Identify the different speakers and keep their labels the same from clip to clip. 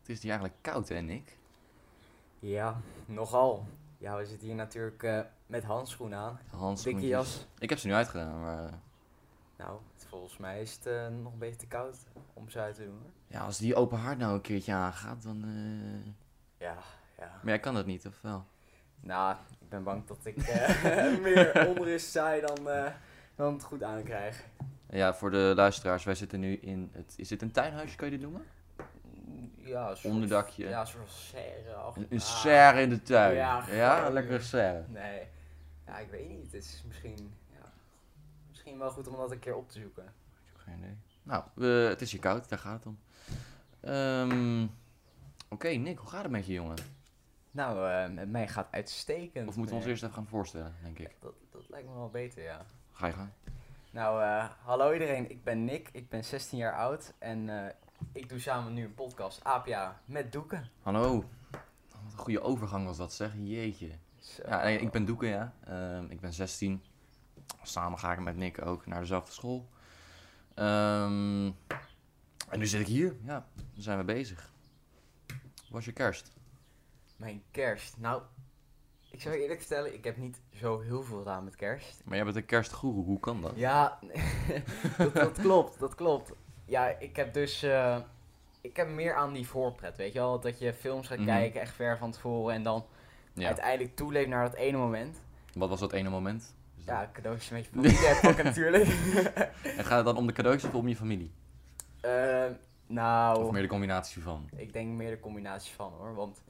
Speaker 1: Het is hier eigenlijk koud, hè, Nick?
Speaker 2: Ja, nogal. Ja, we zitten hier natuurlijk eh, met handschoenen aan.
Speaker 1: Handschoentjes.
Speaker 2: Dikke jas.
Speaker 1: Ik heb ze nu uitgedaan, maar eh,
Speaker 2: Nou, het- volgens mij is het eh, nog een beetje te koud om ze uit te doen hoor.
Speaker 1: ja, als die open haard nou een keertje aangaat, dan... eh,
Speaker 2: Ja, ja.
Speaker 1: Maar jij kan dat niet, of wel?
Speaker 2: Nou, ik ben bang dat ik eh, meer onrust zaai dan, eh, dan het goed aankrijg.
Speaker 1: Ja, voor de luisteraars, wij zitten nu in het... Is dit een tuinhuisje, kan je dit noemen?
Speaker 2: Ja, een soort-
Speaker 1: Onderdakje.
Speaker 2: Ja, een soort serre. ach-
Speaker 1: Een, een
Speaker 2: ah.
Speaker 1: serre in de tuin.
Speaker 2: Ja,
Speaker 1: Ja,
Speaker 2: goh.
Speaker 1: een lekkere serre.
Speaker 2: Nee. Ja, ik weet niet. Het is misschien, ja, misschien wel goed om dat een keer op te zoeken.
Speaker 1: Ik heb geen idee. Nou, we- het is hier koud, daar gaat het om. Ehm, Oké, Nick, hoe gaat het met je, jongen?
Speaker 2: Nou, eh, met mij gaat uitstekend.
Speaker 1: Of moeten we ons
Speaker 2: Eh,
Speaker 1: eerst even gaan voorstellen, denk ik.
Speaker 2: Dat, dat lijkt me wel beter, ja.
Speaker 1: Ga je gaan?
Speaker 2: Nou, eh, hallo iedereen. Ik ben Nick. Ik ben 16 jaar oud. En eh, ik doe samen nu een podcast, APA, met Doeken.
Speaker 1: Hallo. Wat een goede overgang was dat, zeg. Jeetje.
Speaker 2: Zo.
Speaker 1: Ja, nee, ik ben Doeken, ja. Ehm, ik ben 16. Samen ga ik met Nick ook naar dezelfde school. Ehm, en nu zit ik hier. Ja, dan zijn we bezig. Hoe was je kerst?
Speaker 2: Mijn kerst. Nou, ik zou je eerlijk vertellen, ik heb niet zo heel veel gedaan met kerst.
Speaker 1: Maar jij bent een kerstgoeroe, hoe kan dat?
Speaker 2: Ja, dat, dat klopt, dat klopt. Ja, ik heb dus... eh, ik heb meer aan die voorpret, weet je wel? Dat je films gaat
Speaker 1: Mhm.
Speaker 2: kijken, echt ver van tevoren. En dan
Speaker 1: Ja.
Speaker 2: uiteindelijk toeleeft naar dat ene moment.
Speaker 1: Wat was dat ene moment? Is dat-
Speaker 2: Ja, cadeautjes met je familie heb pakken natuurlijk.
Speaker 1: En gaat het dan om de cadeautjes of om je familie?
Speaker 2: Eh, nou...
Speaker 1: Of meer de combinatie van?
Speaker 2: Ik denk meer de combinatie van hoor. Want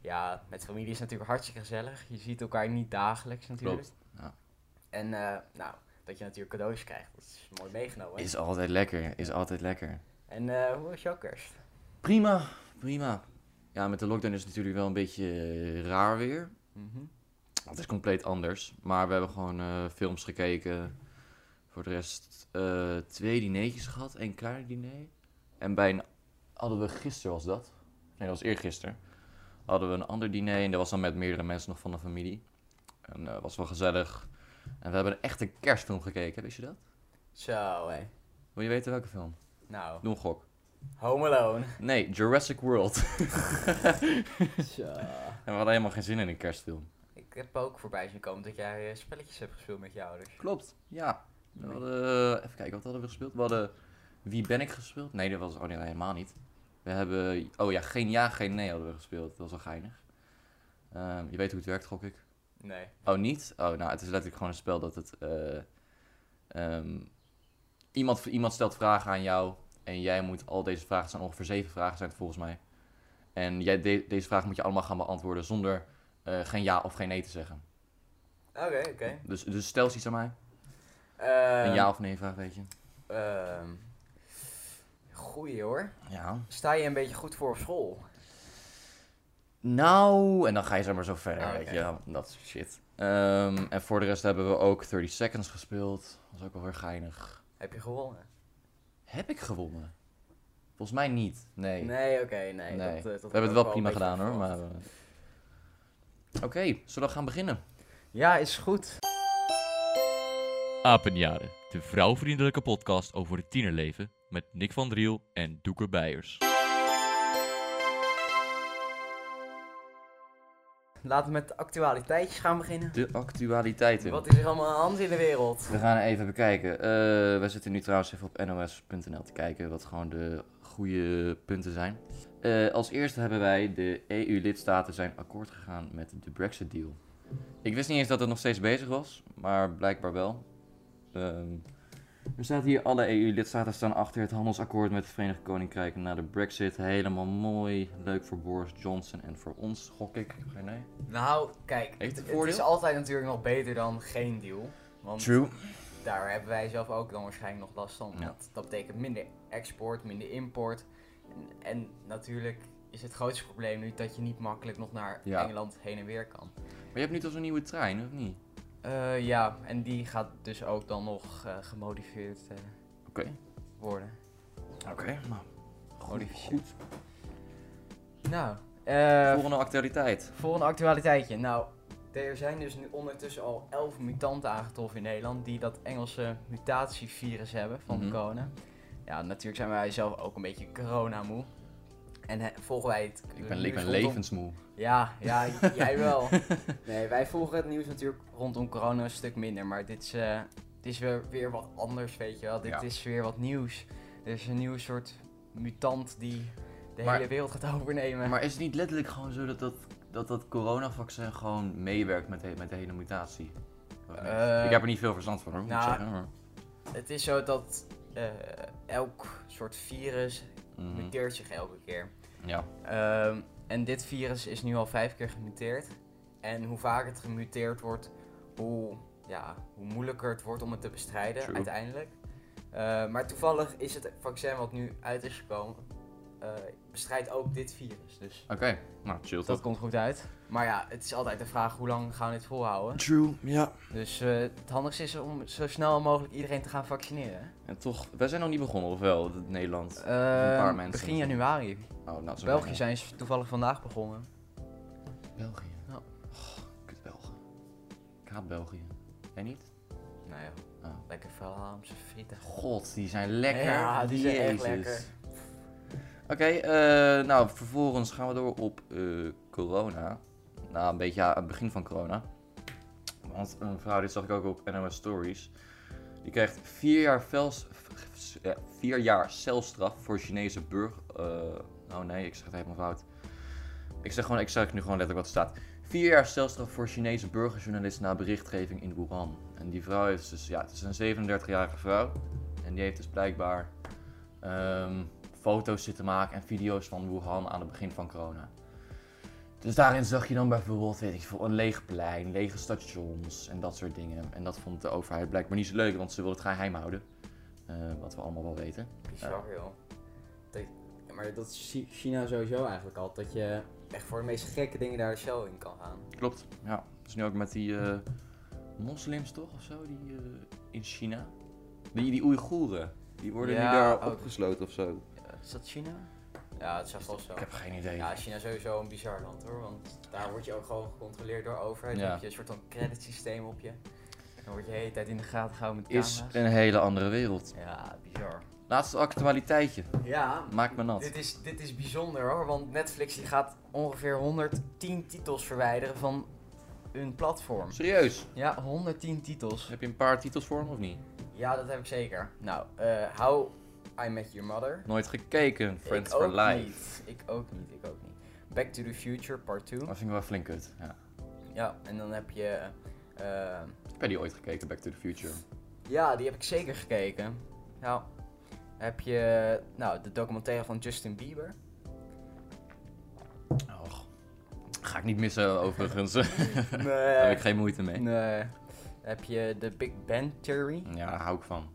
Speaker 2: ja, met familie is natuurlijk hartstikke gezellig. Je ziet elkaar niet dagelijks natuurlijk.
Speaker 1: ja.
Speaker 2: En eh, nou, dat je natuurlijk cadeaus krijgt, dat is mooi meegenomen. hè?
Speaker 1: Is altijd lekker, is altijd lekker.
Speaker 2: En eh, hoe was jouw kerst?
Speaker 1: Prima, prima. Ja, met de lockdown is het natuurlijk wel een beetje eh, raar weer. Het is compleet anders. Maar we hebben gewoon eh, films gekeken. Voor de rest eh, twee dineetjes gehad. één klein diner. En bij een... Hadden we gisteren was dat? Nee, dat was eergisteren. Hadden we een ander diner. En dat was dan met meerdere mensen nog van de familie. En eh, was wel gezellig. En we hebben echt een kerstfilm gekeken. Wist je dat?
Speaker 2: Zo hé.
Speaker 1: Wil je weten welke film?
Speaker 2: Nou,
Speaker 1: Doe een gok.
Speaker 2: Home Alone.
Speaker 1: Nee, Jurassic World.
Speaker 2: Zo.
Speaker 1: En we hadden helemaal geen zin in een kerstfilm.
Speaker 2: Ik heb ook voorbij zien komen dat jij eh, spelletjes hebt gespeeld met je ouders.
Speaker 1: Klopt, ja. We hadden, even kijken, wat hadden we gespeeld? We hadden Wie ben ik gespeeld? Nee, dat was oh nee, helemaal niet. We hebben, oh ja, geen ja, geen nee hadden we gespeeld. Dat was wel geinig. Ehm, je weet hoe het werkt, gok ik.
Speaker 2: Nee.
Speaker 1: Oh, niet? Oh, nou, het is letterlijk gewoon een spel dat het... eh, ehm, iemand, iemand stelt vragen aan jou en jij moet al deze vragen, het zijn ongeveer zeven vragen zijn het volgens mij. En jij, de- deze vragen moet je allemaal gaan beantwoorden zonder eh, geen ja of geen nee te zeggen.
Speaker 2: Oké, oké.
Speaker 1: Dus, dus stel eens iets aan mij.
Speaker 2: Ehm,
Speaker 1: Een ja of nee vraag, weet je.
Speaker 2: ehm, goeie hoor.
Speaker 1: Ja.
Speaker 2: Sta je een beetje goed voor op school?
Speaker 1: Nou, en dan ga je zomaar zo verder,
Speaker 2: Ah,
Speaker 1: weet
Speaker 2: oké.
Speaker 1: je. wel. Dat soort shit. Ehm, en voor de rest hebben we ook 30 Seconds gespeeld. Dat was ook wel weer geinig.
Speaker 2: Heb je gewonnen?
Speaker 1: Heb ik gewonnen? Volgens mij niet. Nee.
Speaker 2: Nee, oké, nee.
Speaker 1: Nee.
Speaker 2: dat, eh, dat
Speaker 1: we
Speaker 2: had
Speaker 1: hebben
Speaker 2: ik
Speaker 1: het
Speaker 2: ook
Speaker 1: wel
Speaker 2: een
Speaker 1: prima
Speaker 2: beetje
Speaker 1: gedaan hoor,
Speaker 2: verwacht.
Speaker 1: maar... eh, Oké, zullen we gaan beginnen?
Speaker 2: Ja, is goed.
Speaker 3: Apenjaren, de vrouwvriendelijke podcast over het tienerleven met Nick van Driel en Doeke Bijers.
Speaker 2: Laten we met de actualiteitjes gaan beginnen.
Speaker 1: De actualiteiten.
Speaker 2: Wat is er allemaal aan de hand in de wereld?
Speaker 1: We gaan even bekijken. Eh we zitten nu trouwens even op nos.nl te kijken wat gewoon de goede punten zijn. Eh, als eerste hebben wij de EU-lidstaten zijn akkoord gegaan met de Brexit deal. Ik wist niet eens dat het nog steeds bezig was, maar blijkbaar wel. Ehm, er staat hier alle EU-lidstaten staan achter het handelsakkoord met het Verenigd Koninkrijk na de Brexit. Helemaal mooi, leuk voor Boris Johnson en voor ons, gok ik. Geen nee.
Speaker 2: Nou, kijk,
Speaker 1: Heeft het
Speaker 2: het,
Speaker 1: voordeel?
Speaker 2: is altijd natuurlijk nog beter dan geen deal. Want
Speaker 1: True.
Speaker 2: daar hebben wij zelf ook dan waarschijnlijk nog last van.
Speaker 1: Ja.
Speaker 2: Want dat betekent minder export, minder import. En, en natuurlijk is het grootste probleem nu dat je niet makkelijk nog naar
Speaker 1: Ja.
Speaker 2: Engeland heen en weer kan.
Speaker 1: Maar je hebt nu toch zo'n nieuwe trein, of niet?
Speaker 2: Eh, ja, en die gaat dus ook dan nog eh, gemodificeerd eh,
Speaker 1: Oké.
Speaker 2: worden.
Speaker 1: Oké, nou. Goed,
Speaker 2: Modificeerd.
Speaker 1: goed.
Speaker 2: Nou, eh
Speaker 1: Volgende actualiteit.
Speaker 2: Volgende actualiteitje. Nou, er zijn dus nu ondertussen al 11 mutanten aangetroffen in Nederland die dat Engelse mutatievirus hebben van
Speaker 1: Mhm.
Speaker 2: corona. Ja, natuurlijk zijn wij zelf ook een beetje corona moe. En eh, volgen wij het.
Speaker 1: Ik ben, ik ben
Speaker 2: nieuws rondom-
Speaker 1: levensmoe.
Speaker 2: Ja, ja, j- jij wel. Nee, wij volgen het nieuws natuurlijk rondom corona een stuk minder. Maar dit is, eh, dit is weer, weer wat anders, weet je wel. Dit
Speaker 1: Ja.
Speaker 2: is weer wat nieuws. Er is een nieuw soort mutant die de
Speaker 1: Maar-
Speaker 2: hele wereld gaat overnemen.
Speaker 1: Maar is het niet letterlijk gewoon zo dat dat, dat, dat coronavaccin gewoon meewerkt met, de- met de hele mutatie? Of niet?
Speaker 2: Eh,
Speaker 1: ik heb er niet veel verstand van hoor, moet
Speaker 2: nou,
Speaker 1: ik zeggen. Maar,
Speaker 2: Het is zo dat eh, elk soort virus
Speaker 1: Mhm.
Speaker 2: muteert zich elke keer.
Speaker 1: Ja,
Speaker 2: Ehm, en dit virus is nu al vijf keer gemuteerd. En hoe vaak het gemuteerd wordt, hoe, ja, hoe moeilijker het wordt om het te bestrijden
Speaker 1: True.
Speaker 2: uiteindelijk. Eh, maar toevallig is het vaccin wat nu uit is gekomen, eh, bestrijdt ook dit virus. Dus
Speaker 1: oké. Nou, chill
Speaker 2: dat
Speaker 1: toch?
Speaker 2: komt goed uit. Maar ja, het is altijd de vraag hoe lang gaan we dit volhouden.
Speaker 1: True, ja.
Speaker 2: Dus eh, het handigste is om zo snel mogelijk iedereen te gaan vaccineren.
Speaker 1: En toch, wij zijn nog niet begonnen, of wel, in Nederland?
Speaker 2: Eh,
Speaker 1: paar mensen
Speaker 2: begin
Speaker 1: misschien.
Speaker 2: januari.
Speaker 1: Oh, nou, zo
Speaker 2: België
Speaker 1: weinig.
Speaker 2: zijn ze toevallig vandaag begonnen.
Speaker 1: België.
Speaker 2: Ja.
Speaker 1: Oh, kut Belgen. Ik haat België. Jij niet?
Speaker 2: Nou ja,
Speaker 1: Oh.
Speaker 2: lekker Vlaamse frieten.
Speaker 1: God, die zijn lekker.
Speaker 2: Ja, die zijn echt
Speaker 1: Jezus.
Speaker 2: lekker.
Speaker 1: Oké, eh, nou, vervolgens gaan we door op eh, corona. Nou, een beetje aan het begin van corona. Want een vrouw, dit zag ik ook op NOS Stories. Die krijgt vier jaar, vels, eh, vier jaar celstraf voor Chinese burger... eh, oh nee, ik zeg het helemaal fout. Ik zeg, gewoon, ik zeg nu gewoon letterlijk wat er staat. Vier jaar celstraf voor Chinese burgerjournalist na berichtgeving in Wuhan. En die vrouw heeft dus... Ja, het is een 37-jarige vrouw. En die heeft dus blijkbaar... ehm, foto's zitten maken en video's van Wuhan aan het begin van corona. Dus daarin zag je dan bijvoorbeeld, weet ik veel, een leeg plein, lege stations en dat soort dingen. En dat vond de overheid blijkbaar niet zo leuk, want ze wilde het geheim houden. Eh, wat we allemaal wel weten.
Speaker 2: Bizar, joh. Dat, ja, maar dat is Chi- China sowieso eigenlijk al. Dat je echt voor de meest gekke dingen daar de cel in kan gaan.
Speaker 1: Klopt, ja. Dus nu ook met die eh, moslims toch, of zo, die eh, in China. Die, die Oeigoeren, die worden
Speaker 2: Ja,
Speaker 1: nu daar
Speaker 2: ook. Eh,
Speaker 1: opgesloten of zo.
Speaker 2: Is dat China? Ja, het is wel zo.
Speaker 1: Ik heb geen idee.
Speaker 2: Ja, China is sowieso een bizar land hoor. Want daar word je ook gewoon gecontroleerd door de overheid.
Speaker 1: Ja.
Speaker 2: Dan heb je een soort van creditsysteem op je. Dan word je de hele tijd in de gaten gehouden met
Speaker 1: Is
Speaker 2: camera's.
Speaker 1: een hele andere wereld.
Speaker 2: Ja, bizar.
Speaker 1: Laatste actualiteitje,
Speaker 2: Ja,
Speaker 1: maak me nat.
Speaker 2: Dit is, dit is bijzonder hoor, want Netflix die gaat ongeveer 110 titels verwijderen van hun platform.
Speaker 1: Serieus,
Speaker 2: Ja, 110 titels.
Speaker 1: heb je een paar titels voor me of niet?
Speaker 2: Ja, dat heb ik zeker. Nou, eh, How I Met Your Mother.
Speaker 1: Nooit gekeken, Friends
Speaker 2: ik ook
Speaker 1: for Life.
Speaker 2: Niet. Ik ook niet, ik ook niet. Back to the Future Part 2.
Speaker 1: Dat vind ik wel flink kut. Ja.
Speaker 2: Ja, en dan heb je... eh,
Speaker 1: Heb jij die ooit gekeken, Back to the Future?
Speaker 2: ja, die heb ik zeker gekeken. Nou, heb je nou, de documentaire van Justin Bieber.
Speaker 1: Och, ga ik niet missen overigens. Daar heb
Speaker 2: Nee.
Speaker 1: ik geen moeite mee.
Speaker 2: nee. Dan heb je de Big Bang Theory.
Speaker 1: Ja, daar hou ik van.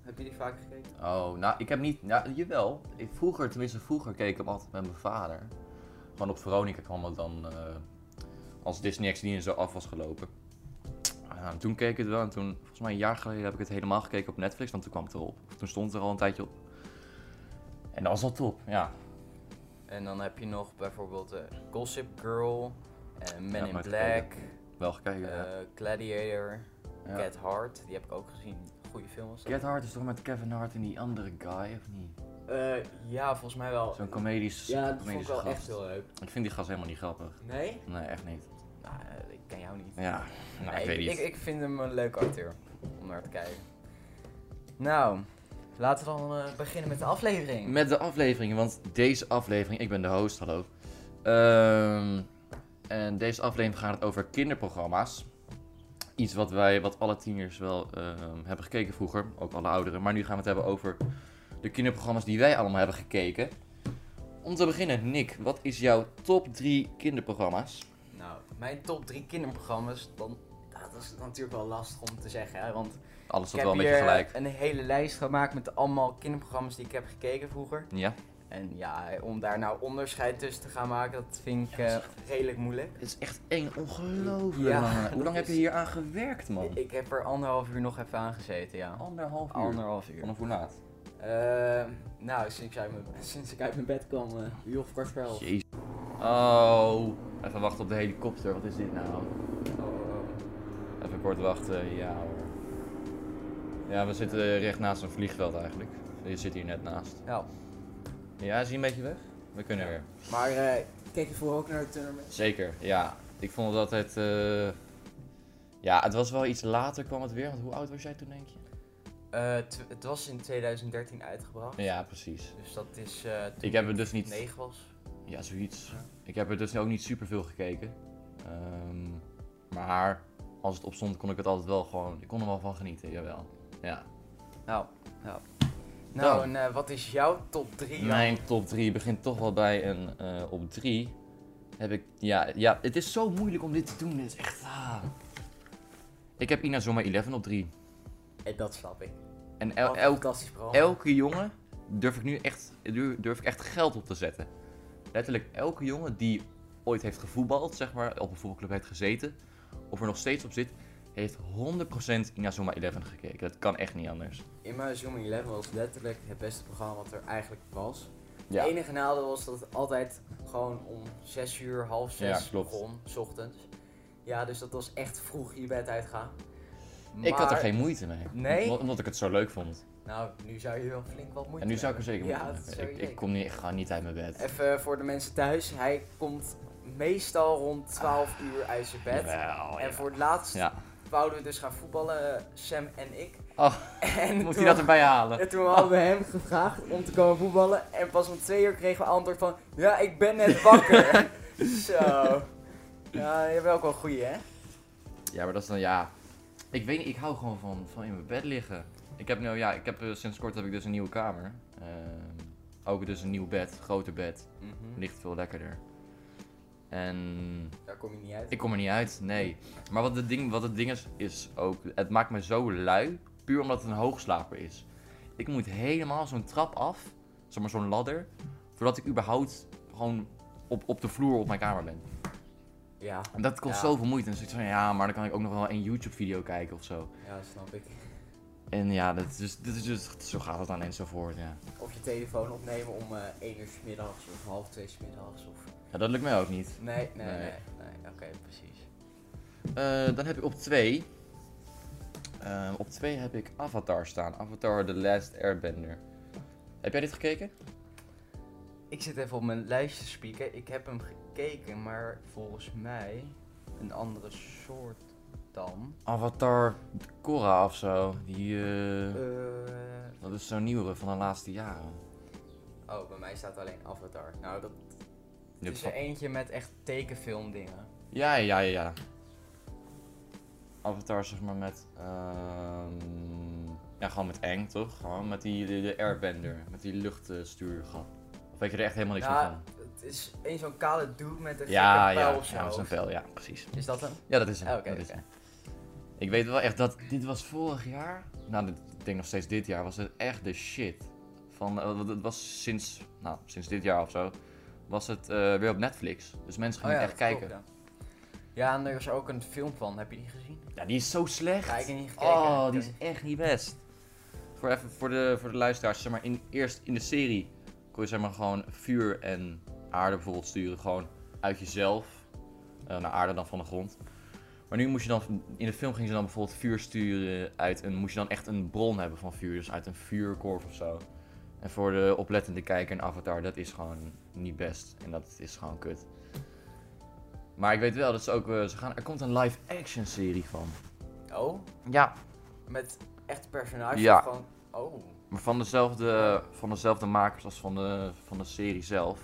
Speaker 2: Heb je die vaak gekeken?
Speaker 1: Oh, nou, ik heb niet... Nou, jawel. Ik, vroeger, tenminste vroeger, keek ik hem altijd met mijn vader. Gewoon op Veronica kwam het dan... eh, als Disney XD en zo af was gelopen. Ja, en toen keek ik het wel. En toen, volgens mij een jaar geleden, heb ik het helemaal gekeken op Netflix. Want toen kwam het erop. Of toen stond het er al een tijdje op. En dat was al top, ja.
Speaker 2: En dan heb je nog bijvoorbeeld eh, Gossip Girl, eh, Men in
Speaker 1: nooit
Speaker 2: Black,
Speaker 1: Wel gekeken, ja.
Speaker 2: eh, Gladiator,
Speaker 1: Ja.
Speaker 2: Get Hard. Die heb ik ook gezien. Goede film was dat.
Speaker 1: Get Hard is toch met Kevin Hart en die andere guy, of niet?
Speaker 2: Eh, ja, volgens mij wel.
Speaker 1: Zo'n comedisch
Speaker 2: ja, dat vond ik
Speaker 1: comedische
Speaker 2: wel
Speaker 1: gast.
Speaker 2: echt heel leuk.
Speaker 1: Ik vind die gast helemaal niet grappig.
Speaker 2: Nee?
Speaker 1: Nee, echt niet.
Speaker 2: Nou, eh, ik ken jou niet.
Speaker 1: Ja, nou,
Speaker 2: Nee,
Speaker 1: ik weet niet.
Speaker 2: Ik, ik vind hem een leuke acteur om naar te kijken. Nou, laten we dan eh, beginnen met de aflevering.
Speaker 1: Met de afleveringen, want deze aflevering, ik ben de host, hallo. Ehm, en deze aflevering gaat het over kinderprogramma's. Iets wat wij, wat alle tieners wel ehm, hebben gekeken vroeger, ook alle ouderen. Maar nu gaan we het hebben over de kinderprogramma's die wij allemaal hebben gekeken. Om te beginnen, Nick, wat is jouw top 3 kinderprogramma's?
Speaker 2: Nou, mijn top 3 kinderprogramma's, dan, dat is natuurlijk wel lastig om te zeggen. Hè, want
Speaker 1: Alles staat
Speaker 2: ik heb
Speaker 1: wel een beetje
Speaker 2: hier eh,
Speaker 1: gelijk.
Speaker 2: een hele lijst gemaakt met allemaal kinderprogramma's die ik heb gekeken vroeger.
Speaker 1: Ja?
Speaker 2: En ja, om daar nou onderscheid tussen te gaan maken, dat vind ik eh, redelijk moeilijk.
Speaker 1: Het is echt eng, ongelooflijk.
Speaker 2: Ja,
Speaker 1: man. Hoe
Speaker 2: dat
Speaker 1: lang heb
Speaker 2: is-
Speaker 1: je hier aan gewerkt, man?
Speaker 2: Ik heb er anderhalf uur nog even aan gezeten, ja.
Speaker 1: Anderhalf uur.
Speaker 2: Anderhalf uur.
Speaker 1: Vanaf hoe laat?
Speaker 2: Eh, nou, sinds ik, uit mijn, sinds ik uit mijn bed kwam, eh uur of kwart voor elf.
Speaker 1: Jezus. Oh, even wachten op de helikopter. Wat is dit nou?
Speaker 2: Oh, oh, oh.
Speaker 1: Even kort wachten, ja hoor. Ja, we zitten recht naast een vliegveld eigenlijk. Je zit hier net naast.
Speaker 2: Nou,
Speaker 1: Ja, is hij een beetje weg? we kunnen weer.
Speaker 4: Maar eh, kijk je vooral ook naar het tournament?
Speaker 1: Zeker, ja. Ik vond dat het... eh, Ja, het was wel iets later kwam het weer. Want hoe oud was jij toen, denk je?
Speaker 2: Eh, tw- het was in 2013 uitgebracht.
Speaker 1: Ja, precies.
Speaker 2: Dus dat is eh, toen
Speaker 1: Ik heb het dus niet...
Speaker 2: 9 was.
Speaker 1: Ja, zoiets.
Speaker 2: Ja.
Speaker 1: Ik heb er dus ook niet super veel gekeken. Ehm, maar als het opstond, kon ik het altijd wel gewoon. Ik kon er wel van genieten, jawel. Ja.
Speaker 2: Nou, nou.
Speaker 1: Dan.
Speaker 2: Nou, en eh, wat is jouw top 3?
Speaker 1: Oh. Mijn top 3 begint toch wel bij een eh, op 3. Heb ik. Ja, ja, het is zo moeilijk om dit te doen. Dit is echt. ah. Ik heb Inazuma 11 op 3.
Speaker 2: Eh, dat snap ik.
Speaker 1: En el-
Speaker 2: Wat een
Speaker 1: elk
Speaker 2: fantastisch programma.
Speaker 1: elke jongen durf ik nu echt, durf- durf ik echt geld op te zetten. Letterlijk elke jongen die ooit heeft gevoetbald, zeg maar, op een voetbalclub heeft gezeten, of er nog steeds op zit, heeft 100% Inazuma 11 gekeken. Dat kan echt niet anders.
Speaker 2: Immer Zoom 11 was letterlijk het beste programma wat er eigenlijk was.
Speaker 1: Ja.
Speaker 2: Het enige nadeel was dat het altijd gewoon om 6 uur, half 6
Speaker 1: Ja, klopt.
Speaker 2: begon, 's ochtends. Ja, dus dat was echt vroeg je bed uitgaan.
Speaker 1: Ik had er
Speaker 2: Maar-
Speaker 1: geen moeite mee.
Speaker 2: Nee?
Speaker 1: Omdat- Omdat ik het zo leuk vond.
Speaker 2: Nou, nu zou je wel flink wat moeite
Speaker 1: En nu zou ik er
Speaker 2: hebben.
Speaker 1: zeker
Speaker 2: ja,
Speaker 1: moeten
Speaker 2: dat zou
Speaker 1: hebben.
Speaker 2: je
Speaker 1: Ik, ik
Speaker 2: zeker.
Speaker 1: kom niet, ik ga niet uit mijn bed.
Speaker 2: Even voor de mensen thuis, hij komt meestal rond 12 uur uit zijn bed.
Speaker 1: Ah. Jawel,
Speaker 2: en
Speaker 1: ja.
Speaker 2: voor het laatst
Speaker 1: Ja.
Speaker 2: wouden we dus gaan voetballen, eh, Sam en ik.
Speaker 1: Oh,
Speaker 2: En
Speaker 1: moet
Speaker 2: toen-
Speaker 1: hij dat erbij halen?
Speaker 2: En toen hadden we hem gevraagd om te komen voetballen. En pas om twee uur kregen we antwoord van... Ja, ik ben net wakker. Zo. Ja, je hebt ook wel een goeie, hè?
Speaker 1: Ja, maar dat is dan ja. Ik weet niet, ik hou gewoon van, van in mijn bed liggen. Ik heb nu, ja, ik heb eh, sinds kort heb ik dus een nieuwe kamer. Ehm, ook dus een nieuw bed, groter bed.
Speaker 2: Mhm.
Speaker 1: Ligt veel lekkerder. En
Speaker 2: Daar kom je niet uit.
Speaker 1: ik kom er niet uit, nee. Maar wat het ding, wat het ding is, is ook, het maakt me zo lui, puur omdat het een hoogslaper is. Ik moet helemaal zo'n trap af, zeg maar zo'n ladder, voordat ik überhaupt gewoon op, op de vloer op mijn kamer ben.
Speaker 2: Ja,
Speaker 1: En dat kost
Speaker 2: Ja.
Speaker 1: zoveel moeite. En dan zeg ik van ja, maar dan kan ik ook nog wel een YouTube-video kijken of zo.
Speaker 2: ja, snap ik.
Speaker 1: En ja, dat is, dus- dit is dus, zo gaat het dan enzovoort. Ja.
Speaker 2: Of je telefoon opnemen om eh 1 uur 's middags of half 2 's middags. Of...
Speaker 1: ja, dat lukt mij ook niet.
Speaker 2: Nee, nee,
Speaker 1: Nee.
Speaker 2: nee. nee, Oké, precies.
Speaker 1: Eh, dan heb ik op twee. eh, op twee heb ik Avatar staan. Avatar The Last Airbender. Heb jij dit gekeken?
Speaker 2: Ik zit even op mijn lijstje te spieken. Ik heb hem gekeken, maar volgens mij een andere soort dan.
Speaker 1: Avatar Korra of zo. Die, eh,
Speaker 2: Eh...
Speaker 1: dat is zo'n nieuwere van de laatste jaren.
Speaker 2: Oh, bij mij staat alleen Avatar. Nou, dat
Speaker 1: Je
Speaker 2: het is
Speaker 1: hebt
Speaker 2: er
Speaker 1: van-
Speaker 2: eentje met echt tekenfilmdingen.
Speaker 1: Ja, ja, ja, ja. Avatar zeg maar met... ehm, ja, gewoon met eng toch? Gewoon met die de, de Airbender. Met die luchtstuurgat. Of weet je er echt helemaal niks meer
Speaker 2: Ja,
Speaker 1: van?
Speaker 2: Het is één zo'n kale dude met een
Speaker 1: Ja,
Speaker 2: gekke
Speaker 1: ja,
Speaker 2: pijl of zo.
Speaker 1: ja, met zo'n vel, ja, precies.
Speaker 2: Is dat hem?
Speaker 1: Ja, dat is hem.
Speaker 2: Oh, oké,
Speaker 1: dat is
Speaker 2: oké.
Speaker 1: hem. Ik weet wel echt dat dit was vorig jaar. Nou, dit- ik denk nog steeds dit jaar was het echt de shit. Van, eh, want het was sinds, nou, sinds dit jaar of zo, was het eh, weer op Netflix. Dus mensen
Speaker 2: Oh
Speaker 1: gingen
Speaker 2: ja,
Speaker 1: echt
Speaker 2: dat
Speaker 1: kijken.
Speaker 2: klopt, ja. Ja, en er is ook een film van. Heb je die gezien?
Speaker 1: ja. die is zo slecht.
Speaker 2: Ja, ik heb niet gekeken.
Speaker 1: oh, die
Speaker 2: Ik-
Speaker 1: is echt niet best. Voor, even, voor, de, voor de luisteraars, zeg maar, in, eerst in de serie kon je zeg maar gewoon vuur en aarde bijvoorbeeld sturen. Gewoon uit jezelf eh, naar aarde dan van de grond. Maar nu moest je dan, in de film gingen ze dan bijvoorbeeld vuur sturen uit een, moest je dan echt een bron hebben van vuur. Dus uit een vuurkorf of zo. En voor de oplettende kijker in Avatar, dat is gewoon niet best. En dat is gewoon kut. Maar ik weet wel, dat ze ook, eh, ze gaan, er komt een live action serie van.
Speaker 2: Oh,
Speaker 1: Ja,
Speaker 2: met echt personages
Speaker 1: Ja.
Speaker 2: of gewoon... Oh,
Speaker 1: Maar van dezelfde, van dezelfde makers als van de, van de serie zelf.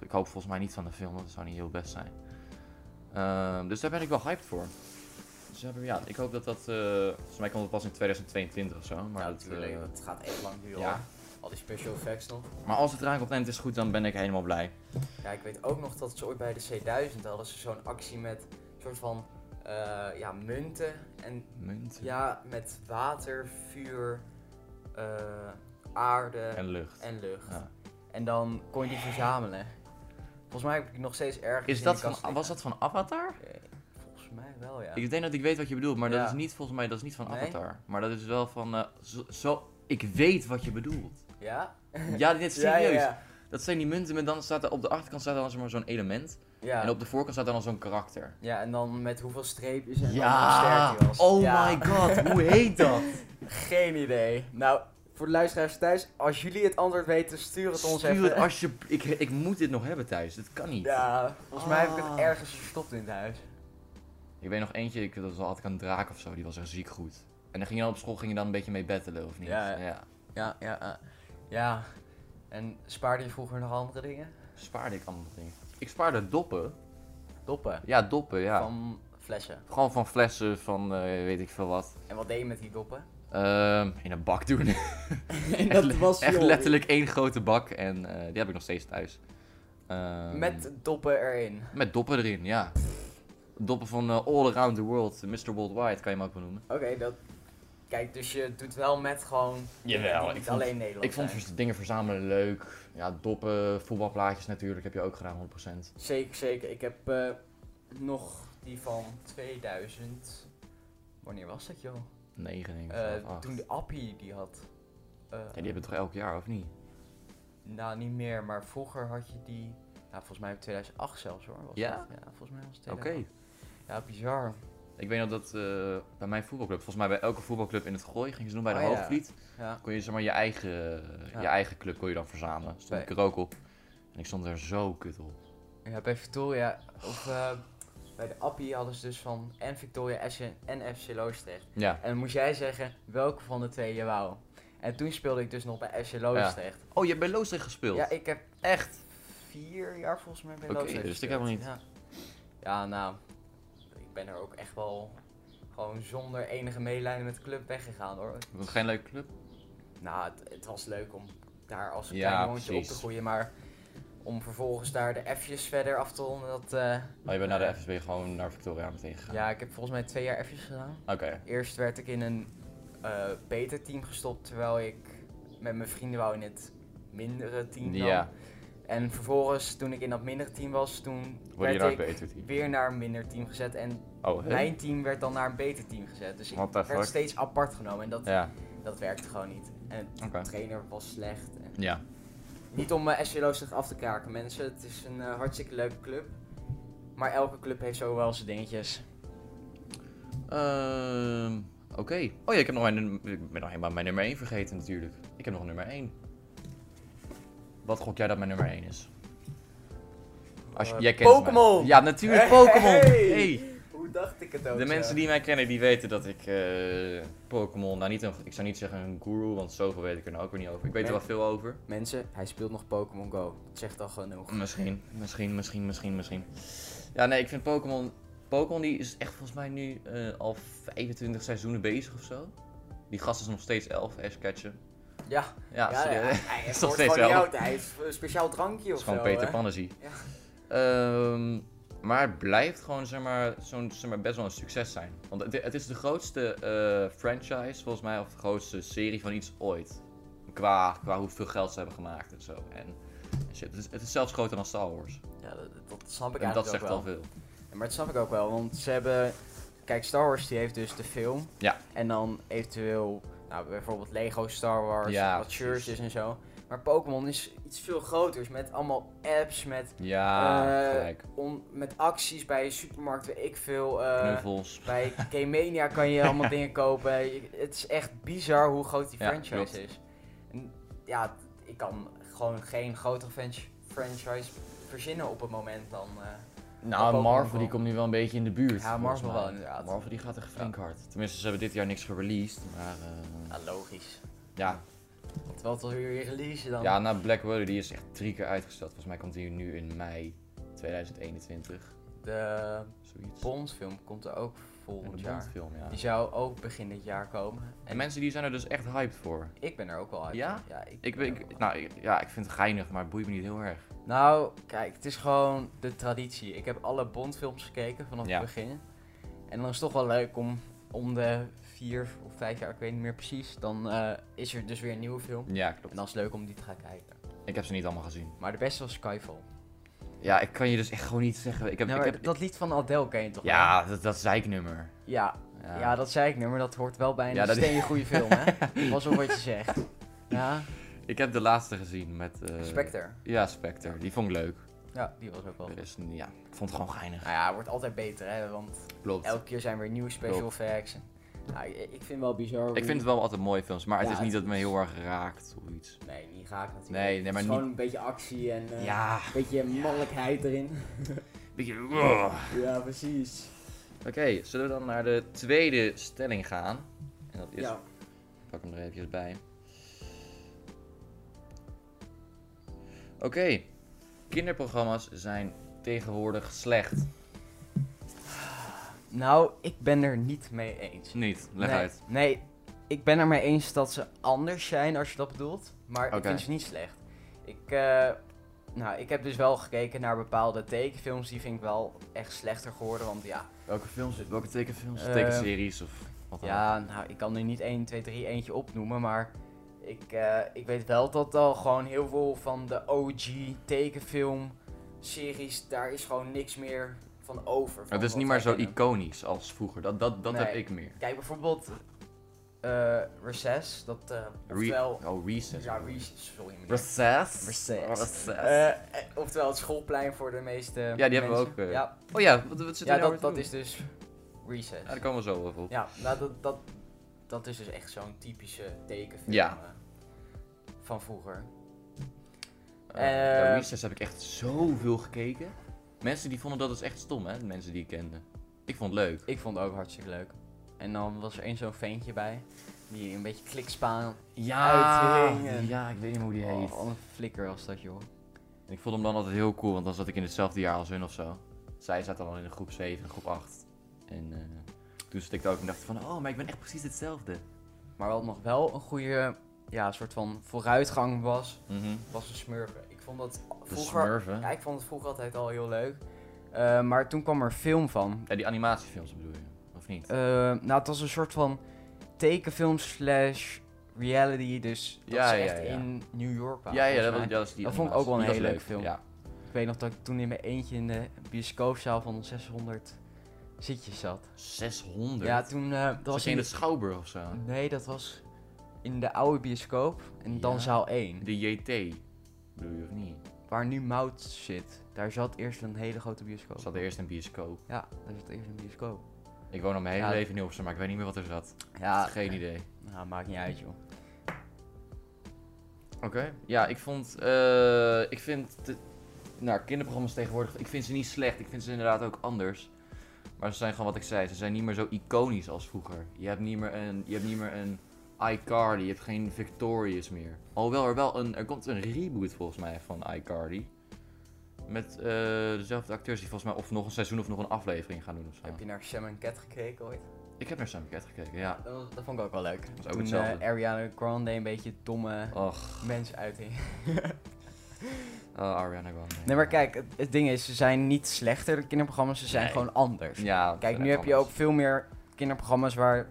Speaker 1: Ik hoop volgens mij niet van de film, want dat zou niet heel best zijn. Ehm, dus daar ben ik wel hyped voor. Dus daar ben- ja, ik hoop dat dat. eh, volgens mij komt het pas in 2022 of zo. Maar,
Speaker 2: maar
Speaker 1: dat, eh,
Speaker 2: natuurlijk. het gaat echt lang duren.
Speaker 1: ja.
Speaker 2: hoor. Al die special effects nog.
Speaker 1: maar als het eraan komt en het is goed, dan ben ik helemaal blij.
Speaker 2: Ja, ik weet ook nog dat ze ooit bij de C1000 hadden ze zo'n actie met een soort van eh, ja, munten en
Speaker 1: Munt
Speaker 2: Ja, met water, vuur, eh, aarde en,
Speaker 1: en lucht.
Speaker 2: lucht.
Speaker 1: Ja.
Speaker 2: En dan kon je die verzamelen. Volgens mij heb ik die nog steeds ergens
Speaker 1: Is
Speaker 2: in
Speaker 1: dat
Speaker 2: de kast
Speaker 1: van, was dat van Avatar?
Speaker 2: liggen. Eh, Volgens mij wel, ja.
Speaker 1: Ik denk dat ik weet wat je bedoelt, maar dat
Speaker 2: Ja.
Speaker 1: is niet volgens mij dat is niet van
Speaker 2: Nee?
Speaker 1: Avatar. Maar dat is wel van. eh, zo, zo- ik weet wat je bedoelt.
Speaker 2: Ja?
Speaker 1: Ja, dit is
Speaker 2: Ja,
Speaker 1: serieus.
Speaker 2: Ja, ja.
Speaker 1: Dat zijn die munten, maar dan staat er op de achterkant staat er dan zeg maar zo'n element.
Speaker 2: Ja.
Speaker 1: En op de voorkant staat dan al zo'n karakter.
Speaker 2: Ja, en dan met hoeveel streepjes en dan hoe sterk die was.
Speaker 1: Oh
Speaker 2: Ja,
Speaker 1: my god, hoe heet dat?
Speaker 2: Geen idee. Nou, voor de luisteraars thuis, als jullie het antwoord weten, stuur het ons
Speaker 1: Stuur
Speaker 2: even.
Speaker 1: het alsjeblieft. Ik, ik moet dit nog hebben thuis. Dit kan niet.
Speaker 2: Ja, volgens mij heb ik het
Speaker 4: Ah.
Speaker 2: ergens verstopt in het huis.
Speaker 1: Ik weet nog eentje, ik, dat was, had ik een draak of zo, die was echt ziek goed. En dan ging je dan op school ging je dan een beetje mee battelen, of niet?
Speaker 2: Ja, ja. Ja, ja, ja. ja. En spaarde je vroeger nog andere dingen?
Speaker 1: Spaarde ik allemaal dingen. Ik spaarde doppen.
Speaker 2: Doppen.
Speaker 1: Ja, doppen, ja.
Speaker 2: Van flessen.
Speaker 1: Gewoon van flessen, van eh, weet ik veel wat.
Speaker 2: En wat deed je met die doppen?
Speaker 1: Ehm, in een bak doen.
Speaker 4: En
Speaker 1: Echt
Speaker 4: dat
Speaker 1: le-
Speaker 4: was
Speaker 1: Echt
Speaker 4: joh.
Speaker 1: letterlijk één grote bak en eh, die heb ik nog steeds thuis. Ehm,
Speaker 2: Met doppen erin.
Speaker 1: met doppen erin, ja. Doppen van eh, All Around the World, Mr. Worldwide kan je hem ook wel noemen.
Speaker 2: Oké, dat... Kijk, dus je doet wel met gewoon...
Speaker 1: Jawel,
Speaker 2: die
Speaker 1: ik
Speaker 2: niet
Speaker 1: vond-
Speaker 2: alleen Nederland
Speaker 1: Ik vond
Speaker 2: zijn.
Speaker 1: vers- dingen verzamelen leuk. Ja, doppen, voetbalplaatjes natuurlijk, heb je ook gedaan, 100%.
Speaker 2: Zeker, zeker. Ik heb eh, nog die van 2000... Wanneer was dat, joh?
Speaker 1: 9 denk ik.
Speaker 2: Eh,
Speaker 1: of acht.
Speaker 2: toen de Appie die had. Eh,
Speaker 1: Ja, die hebben we toch elk jaar, of niet?
Speaker 2: Nou, niet meer, maar vroeger had je die... Nou, volgens mij 2008 zelfs, hoor. was
Speaker 1: Ja?
Speaker 2: dat. Ja, volgens mij was het
Speaker 1: Oké.
Speaker 2: 2008. Ja, bizar.
Speaker 1: Ik weet nog dat eh, bij mijn voetbalclub, volgens mij bij elke voetbalclub in het Gooi, gingen ze doen bij de
Speaker 2: Oh ja.
Speaker 1: Hoogvliet,
Speaker 2: Ja.
Speaker 1: kon je zeg maar je eigen, eh, je
Speaker 2: Ja.
Speaker 1: eigen club kon je dan verzamelen. Stond
Speaker 2: Bij-
Speaker 1: ik er ook op. En ik stond er zo kut op.
Speaker 2: Ja, bij Victoria, of eh, bij de Appie hadden ze dus van en Victoria Essen en FC Loosdrecht.
Speaker 1: Ja.
Speaker 2: En dan moest jij zeggen welke van de twee je wou. En toen speelde ik dus nog bij FC Loosdrecht.
Speaker 1: Oh, je hebt bij Loosdrecht gespeeld?
Speaker 2: Ja, ik heb echt vier jaar volgens mij bij
Speaker 1: Oké,
Speaker 2: Loosdrecht
Speaker 1: dat wist ik
Speaker 2: gespeeld.
Speaker 1: helemaal
Speaker 2: Ja. ja, nou, ik ben er ook echt wel gewoon zonder enige medelijden met de club weggegaan hoor.
Speaker 1: Was het geen leuke club?
Speaker 2: Nou, het, het was leuk om daar als een
Speaker 1: Ja,
Speaker 2: klein jongetje op
Speaker 1: precies.
Speaker 2: te groeien, maar om vervolgens daar de F'jes verder af te ronden, dat... eh,
Speaker 1: Oh, je bent naar de FSB gewoon naar Victoria meteen gegaan?
Speaker 2: Ja, ik heb volgens mij twee jaar F's gedaan.
Speaker 1: Oké.
Speaker 2: Eerst werd ik in een eh beter team gestopt, terwijl ik met mijn vrienden wou in het mindere team dan.
Speaker 1: Ja,
Speaker 2: En vervolgens, toen ik in dat mindere team was, toen
Speaker 1: word je
Speaker 2: werd
Speaker 1: naar het
Speaker 2: ik
Speaker 1: beter team.
Speaker 2: weer naar een minder team gezet. En
Speaker 1: Oh, hè?
Speaker 2: mijn team werd dan naar een beter team gezet. Dus ik
Speaker 1: What the
Speaker 2: werd
Speaker 1: fuck?
Speaker 2: steeds apart genomen en dat,
Speaker 1: Ja,
Speaker 2: dat werkte gewoon niet. En de
Speaker 1: oké.
Speaker 2: trainer was slecht. En
Speaker 1: Ja.
Speaker 2: niet om eh, SC Loosdrecht af te kraken, mensen. Het is een eh, hartstikke leuke club. Maar elke club heeft zo wel zijn dingetjes.
Speaker 1: Ehm, Oké. Oh ja, ik, heb nog mijn, ik ben nog helemaal mijn nummer 1 vergeten natuurlijk. Ik heb nog een nummer 1. Wat gok jij dat mijn nummer 1 is? Als, je-
Speaker 2: Eh,
Speaker 1: jij kent mij.
Speaker 2: Pokémon!
Speaker 1: Ja, natuurlijk
Speaker 2: Hey!
Speaker 1: Pokémon! Hey!
Speaker 2: Hoe dacht ik het ook?
Speaker 1: De
Speaker 2: zo?
Speaker 1: mensen die mij kennen, die weten dat ik eh, Pokémon, nou niet een, ik zou niet zeggen een guru, want zoveel weet ik er nou ook weer niet over. Ik weet er wel
Speaker 2: Nee.
Speaker 1: veel over.
Speaker 2: Mensen, hij speelt nog Pokémon Go. Dat zegt al genoeg.
Speaker 1: Misschien, misschien, misschien, misschien, misschien. Ja, nee, ik vind Pokémon. Pokémon die is echt volgens mij nu eh, al 25 seizoenen bezig of zo. Die gast is nog steeds 11, Ash Ketchum.
Speaker 2: Ja,
Speaker 1: Ja,
Speaker 2: ja,
Speaker 1: serieus.
Speaker 2: ja,
Speaker 1: Het
Speaker 2: hij
Speaker 1: is
Speaker 2: is
Speaker 1: nog
Speaker 2: nog
Speaker 1: steeds
Speaker 2: gewoon
Speaker 1: wel.
Speaker 2: niet oud. Hij heeft een speciaal drankje of
Speaker 1: is gewoon
Speaker 2: zo.
Speaker 1: Peter
Speaker 2: hè?
Speaker 1: Pannesie.
Speaker 2: Ja.
Speaker 1: Ehm, maar het blijft gewoon zeg maar, zo'n, zeg maar, best wel een succes zijn. Want het, het is de grootste eh, franchise, volgens mij, of de grootste serie van iets ooit. Qua, qua hoeveel geld ze hebben gemaakt en zo. En, en shit. Het, is, het is zelfs groter dan Star Wars.
Speaker 2: Ja, dat, dat snap ik
Speaker 1: en
Speaker 2: eigenlijk
Speaker 1: dat
Speaker 2: ook
Speaker 1: zegt
Speaker 2: wel.
Speaker 1: al veel.
Speaker 2: Ja, Maar dat snap ik ook wel, want ze hebben... Kijk, Star Wars die heeft dus de film.
Speaker 1: Ja.
Speaker 2: En dan eventueel, nou, bijvoorbeeld Lego Star Wars,
Speaker 1: Ja,
Speaker 2: wat
Speaker 1: precies.
Speaker 2: shirtjes en zo. Maar Pokémon is iets veel groters, met allemaal apps, met,
Speaker 1: Ja,
Speaker 2: Eh,
Speaker 1: Ah, gelijk.
Speaker 2: on, met acties bij je supermarkt, weet ik veel. eh,
Speaker 1: Knuffels.
Speaker 2: Bij K-Mania kan je allemaal dingen kopen. Je- Het is echt bizar hoe groot die
Speaker 1: Ja,
Speaker 2: franchise
Speaker 1: klopt.
Speaker 2: is. En ja, ik kan gewoon geen grotere fran- franchise verzinnen op het moment dan. eh,
Speaker 1: Nou,
Speaker 2: Pokémon
Speaker 1: Marvel
Speaker 2: wel.
Speaker 1: die komt nu wel een beetje in de buurt.
Speaker 2: Ja,
Speaker 1: volgens
Speaker 2: Marvel
Speaker 1: mij.
Speaker 2: wel, inderdaad.
Speaker 1: Marvel die gaat echt flink hard. Tenminste, ze hebben dit jaar niks gereleased, maar eh,
Speaker 2: ja, logisch.
Speaker 1: ja.
Speaker 2: Want wat wil je weer releasen dan?
Speaker 1: Ja, nou Black Widow die is echt drie keer uitgesteld. Volgens mij komt die nu in mei 2021.
Speaker 2: De
Speaker 1: Zoiets.
Speaker 2: Bond-film komt er ook
Speaker 1: En
Speaker 2: volgend
Speaker 1: de
Speaker 2: jaar.
Speaker 1: Bondfilm, ja.
Speaker 2: Die zou ook begin dit jaar komen.
Speaker 1: En mensen die zijn er dus echt hyped voor.
Speaker 2: Ik ben er ook al uit.
Speaker 1: Ja?
Speaker 2: ik
Speaker 1: Ik,
Speaker 2: ben
Speaker 1: ben-
Speaker 2: er ook
Speaker 1: ik,
Speaker 2: al-
Speaker 1: nou, ik- ja, ik vind het geinig, maar het boeit me niet heel erg.
Speaker 2: Nou, kijk, het is gewoon de traditie. Ik heb alle Bondfilms gekeken vanaf
Speaker 1: Ja.
Speaker 2: het begin. En dan is het toch wel leuk om om de vier of vijf jaar, ik weet niet meer precies, dan eh, is er dus weer een nieuwe film.
Speaker 1: Ja, klopt.
Speaker 2: En dan is het leuk om die te gaan kijken.
Speaker 1: Ik heb ze niet allemaal gezien.
Speaker 2: Maar de beste was Skyfall.
Speaker 1: Ja, ik kan je dus echt gewoon niet zeggen. Ik heb,
Speaker 2: Nou,
Speaker 1: ik
Speaker 2: maar
Speaker 1: heb,
Speaker 2: Dat lied van Adele ken je toch wel?
Speaker 1: ja, dat, dat zeiknummer.
Speaker 2: Ja, ja. dat zei ik nu, maar dat hoort wel bij een
Speaker 1: Ja, dat-
Speaker 2: steen goede film, hè? Pas op wat je zegt. Ja,
Speaker 1: Ik heb de laatste gezien met... eh,
Speaker 2: Spectre.
Speaker 1: Ja, Spectre. Die vond ik leuk.
Speaker 2: Ja, die was ook wel.
Speaker 1: De
Speaker 2: Nou
Speaker 1: rest, ja, ik vond het gewoon geinig.
Speaker 2: ja, het wordt altijd beter, hè? Want
Speaker 1: Klopt.
Speaker 2: elke keer zijn weer nieuwe special
Speaker 1: Klopt.
Speaker 2: effects. En Nou, ik ik vind wel bizar.
Speaker 1: Ik vind het wel altijd mooie films, maar het
Speaker 2: Ja,
Speaker 1: is niet dat
Speaker 2: het
Speaker 1: het me
Speaker 2: is-
Speaker 1: heel erg raakt of iets.
Speaker 2: Nee, niet gaak natuurlijk.
Speaker 1: Nee, nee,
Speaker 2: Het
Speaker 1: maar
Speaker 2: is gewoon een beetje actie en eh,
Speaker 1: Ja,
Speaker 2: een beetje mannelijkheid erin.
Speaker 1: beetje... Ugh.
Speaker 2: ja, precies.
Speaker 1: Oké, zullen we dan naar de tweede stelling gaan? En dat is...
Speaker 4: Ja.
Speaker 1: Ik pak hem er eventjes bij. Oké. Kinderprogramma's zijn tegenwoordig slecht.
Speaker 2: Nou, ik ben er niet mee eens.
Speaker 1: Niet, leg
Speaker 2: nee,
Speaker 1: uit.
Speaker 2: Nee, ik ben er mee eens dat ze anders zijn als je dat bedoelt. Maar ik
Speaker 1: Oké.
Speaker 2: vind ze niet slecht. Ik, eh, nou, ik heb dus wel gekeken naar bepaalde tekenfilms. Die vind ik wel echt slechter geworden. Want ja,
Speaker 1: Welke films? Welke tekenfilms?
Speaker 2: Eh,
Speaker 1: Tekenseries of wat dan ook.
Speaker 2: ja nou, ik kan nu niet 1, 2, 3 eentje opnoemen. Maar ik, eh, ik weet wel dat al gewoon heel veel van de OG tekenfilm series, daar is gewoon niks meer van over. van
Speaker 1: Het is
Speaker 2: wat
Speaker 1: niet meer
Speaker 2: wij
Speaker 1: zo
Speaker 2: kennen.
Speaker 1: iconisch als vroeger. Dat, dat, dat heb
Speaker 2: Nee.
Speaker 1: ik meer.
Speaker 2: Kijk bijvoorbeeld eh, Recess, dat eh
Speaker 1: Re
Speaker 2: oftewel...
Speaker 1: oh, Recess.
Speaker 2: ja, Recess, sorry meneer.
Speaker 1: Recess?
Speaker 2: Recess.
Speaker 1: Recess.
Speaker 2: Eh, eh, oftewel het schoolplein voor de meeste
Speaker 1: Ja, die hebben we
Speaker 2: mensen.
Speaker 1: ook, eh,
Speaker 2: ja,
Speaker 1: oh ja, wat, wat zit
Speaker 2: ja
Speaker 1: er nou
Speaker 2: dat,
Speaker 1: weer
Speaker 2: dat
Speaker 1: te
Speaker 2: is dus Recess.
Speaker 1: doen? Ja, daar komen we zo even op.
Speaker 2: Ja, nou, dat, dat, dat is dus echt zo'n typische tekenfilm
Speaker 1: Ja.
Speaker 2: eh, van vroeger.
Speaker 1: Eh, ja,
Speaker 2: eh,
Speaker 1: Recess heb ik echt zoveel gekeken. Mensen die vonden dat dus echt stom, hè? de Mensen die ik kende. Ik vond het leuk.
Speaker 2: Ik vond het ook hartstikke leuk. En dan was er één zo'n ventje bij, die een beetje klikspaan Uithingen.
Speaker 1: ja, ik weet niet hoe die heet.
Speaker 2: Oh, wat een flikker was dat, joh.
Speaker 1: En ik vond hem dan altijd heel cool, want dan zat ik in hetzelfde jaar als hun of zo. Zij zaten dan in de groep 7 en groep 8. En eh, toen zat ik daar ook en dacht ik van, oh, maar ik ben echt precies hetzelfde.
Speaker 2: Maar wat nog wel een goede ja, soort van vooruitgang was, was de smurfen. Ik vond dat
Speaker 1: De
Speaker 2: Mhm. vroeger,
Speaker 1: Smurfen.
Speaker 2: ja, ik vond het vroeger altijd al heel leuk. Eh, maar toen kwam er een film van.
Speaker 1: Ja, die animatiefilms bedoel je, of niet?
Speaker 2: Eh, nou, het was een soort van tekenfilm slash reality. Dus dat
Speaker 1: Ja,
Speaker 2: ze
Speaker 1: ja,
Speaker 2: echt
Speaker 1: ja.
Speaker 2: in New York waren.
Speaker 1: ja, ja, dat
Speaker 2: volgens
Speaker 1: was,
Speaker 2: mij.
Speaker 1: dat was die
Speaker 2: Dat vond ik
Speaker 1: animatie.
Speaker 2: ook wel een
Speaker 1: Die was
Speaker 2: hele
Speaker 1: leuk,
Speaker 2: leuke film.
Speaker 1: Ja.
Speaker 2: Ik weet nog dat ik toen in mijn eentje in de bioscoopzaal van 600 zitjes zat.
Speaker 1: 600?
Speaker 2: Ja, toen... eh, dat
Speaker 1: dat was
Speaker 2: was
Speaker 1: je in de
Speaker 2: de-
Speaker 1: Schouwburg of zo.
Speaker 2: Nee, dat was in de oude bioscoop. En dan
Speaker 1: Ja.
Speaker 2: zaal 1.
Speaker 1: De JT, bedoel je of niet?
Speaker 2: Waar nu Mout zit, daar zat eerst een hele grote bioscoop.
Speaker 1: Er zat eerst een bioscoop.
Speaker 2: Ja, daar zat eerst een bioscoop.
Speaker 1: Ik woon al mijn hele
Speaker 2: Ja.
Speaker 1: leven in Hilversum, maar ik weet niet meer wat er zat.
Speaker 2: Ja,
Speaker 1: Geen idee.
Speaker 2: Nou, maakt niet uit, joh.
Speaker 1: Oké. Ja, ik vond... eh, ik vind... De, nou, kinderprogramma's tegenwoordig... Ik vind ze niet slecht. Ik vind ze inderdaad ook anders. Maar ze zijn gewoon wat ik zei. Ze zijn niet meer zo iconisch als vroeger. Je hebt niet meer een... Je hebt niet meer een... iCarly. Je hebt geen Victorious meer. Alhoewel er wel een... Er komt een reboot volgens mij van iCarly. Met eh, dezelfde acteurs die volgens mij of nog een seizoen of nog een aflevering gaan doen of zo.
Speaker 2: Heb je naar Sam en Cat gekeken ooit?
Speaker 1: Ik heb naar Sam Cat gekeken, ja.
Speaker 2: Dat, was- dat vond ik ook wel leuk.
Speaker 1: is ook
Speaker 2: Toen
Speaker 1: hetzelfde.
Speaker 2: eh, Ariana Grande een beetje domme
Speaker 1: Och,
Speaker 2: mensen uithing.
Speaker 1: oh, Ariana Grande.
Speaker 2: Nee, maar kijk, het, het ding is, ze zijn niet slechter, de kinderprogramma's. Ze zijn
Speaker 1: Nee.
Speaker 2: gewoon anders.
Speaker 1: Ja, eh,
Speaker 2: Kijk, nu heb je ook veel meer kinderprogramma's waar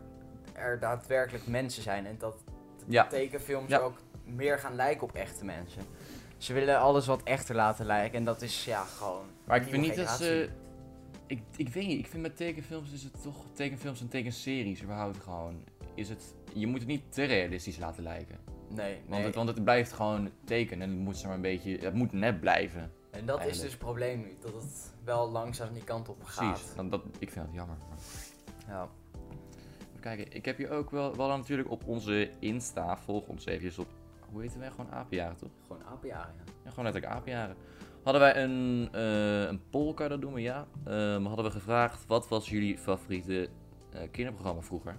Speaker 2: er daadwerkelijk mensen zijn. En dat
Speaker 1: Ja.
Speaker 2: tekenfilms
Speaker 1: Ja.
Speaker 2: ook meer gaan lijken op echte mensen. Ze willen alles wat echter laten lijken. En dat is ja gewoon.
Speaker 1: Maar ik
Speaker 2: een
Speaker 1: vind niet
Speaker 2: nieuwe
Speaker 1: dat ze...
Speaker 2: generatie.
Speaker 1: Ik, ik weet niet, ik vind met tekenfilms is het toch... Tekenfilms en tekenseries überhaupt gewoon... Is het... Je moet het niet te realistisch laten lijken.
Speaker 2: Nee, nee.
Speaker 1: Want, het, want het blijft gewoon tekenen en het moet zeg maar een beetje... Het moet net blijven.
Speaker 2: en dat is
Speaker 1: eigenlijk.
Speaker 2: dus het probleem nu. Dat het wel langzaam die kant op gaat.
Speaker 1: Precies. Dan, dat, ik vind dat jammer. Maar
Speaker 2: Ja.
Speaker 1: even kijken, ik heb hier ook wel... We hadden natuurlijk op onze Insta... Volg ons eventjes op... Hoe heten wij? Gewoon Apenjaren, toch?
Speaker 2: Gewoon apenjaren. ja.
Speaker 1: Ja, gewoon letterlijk apenjaren. Hadden wij een, eh een polka, dat doen we ja. Ehm, hadden we gevraagd wat was jullie favoriete eh, kinderprogramma vroeger?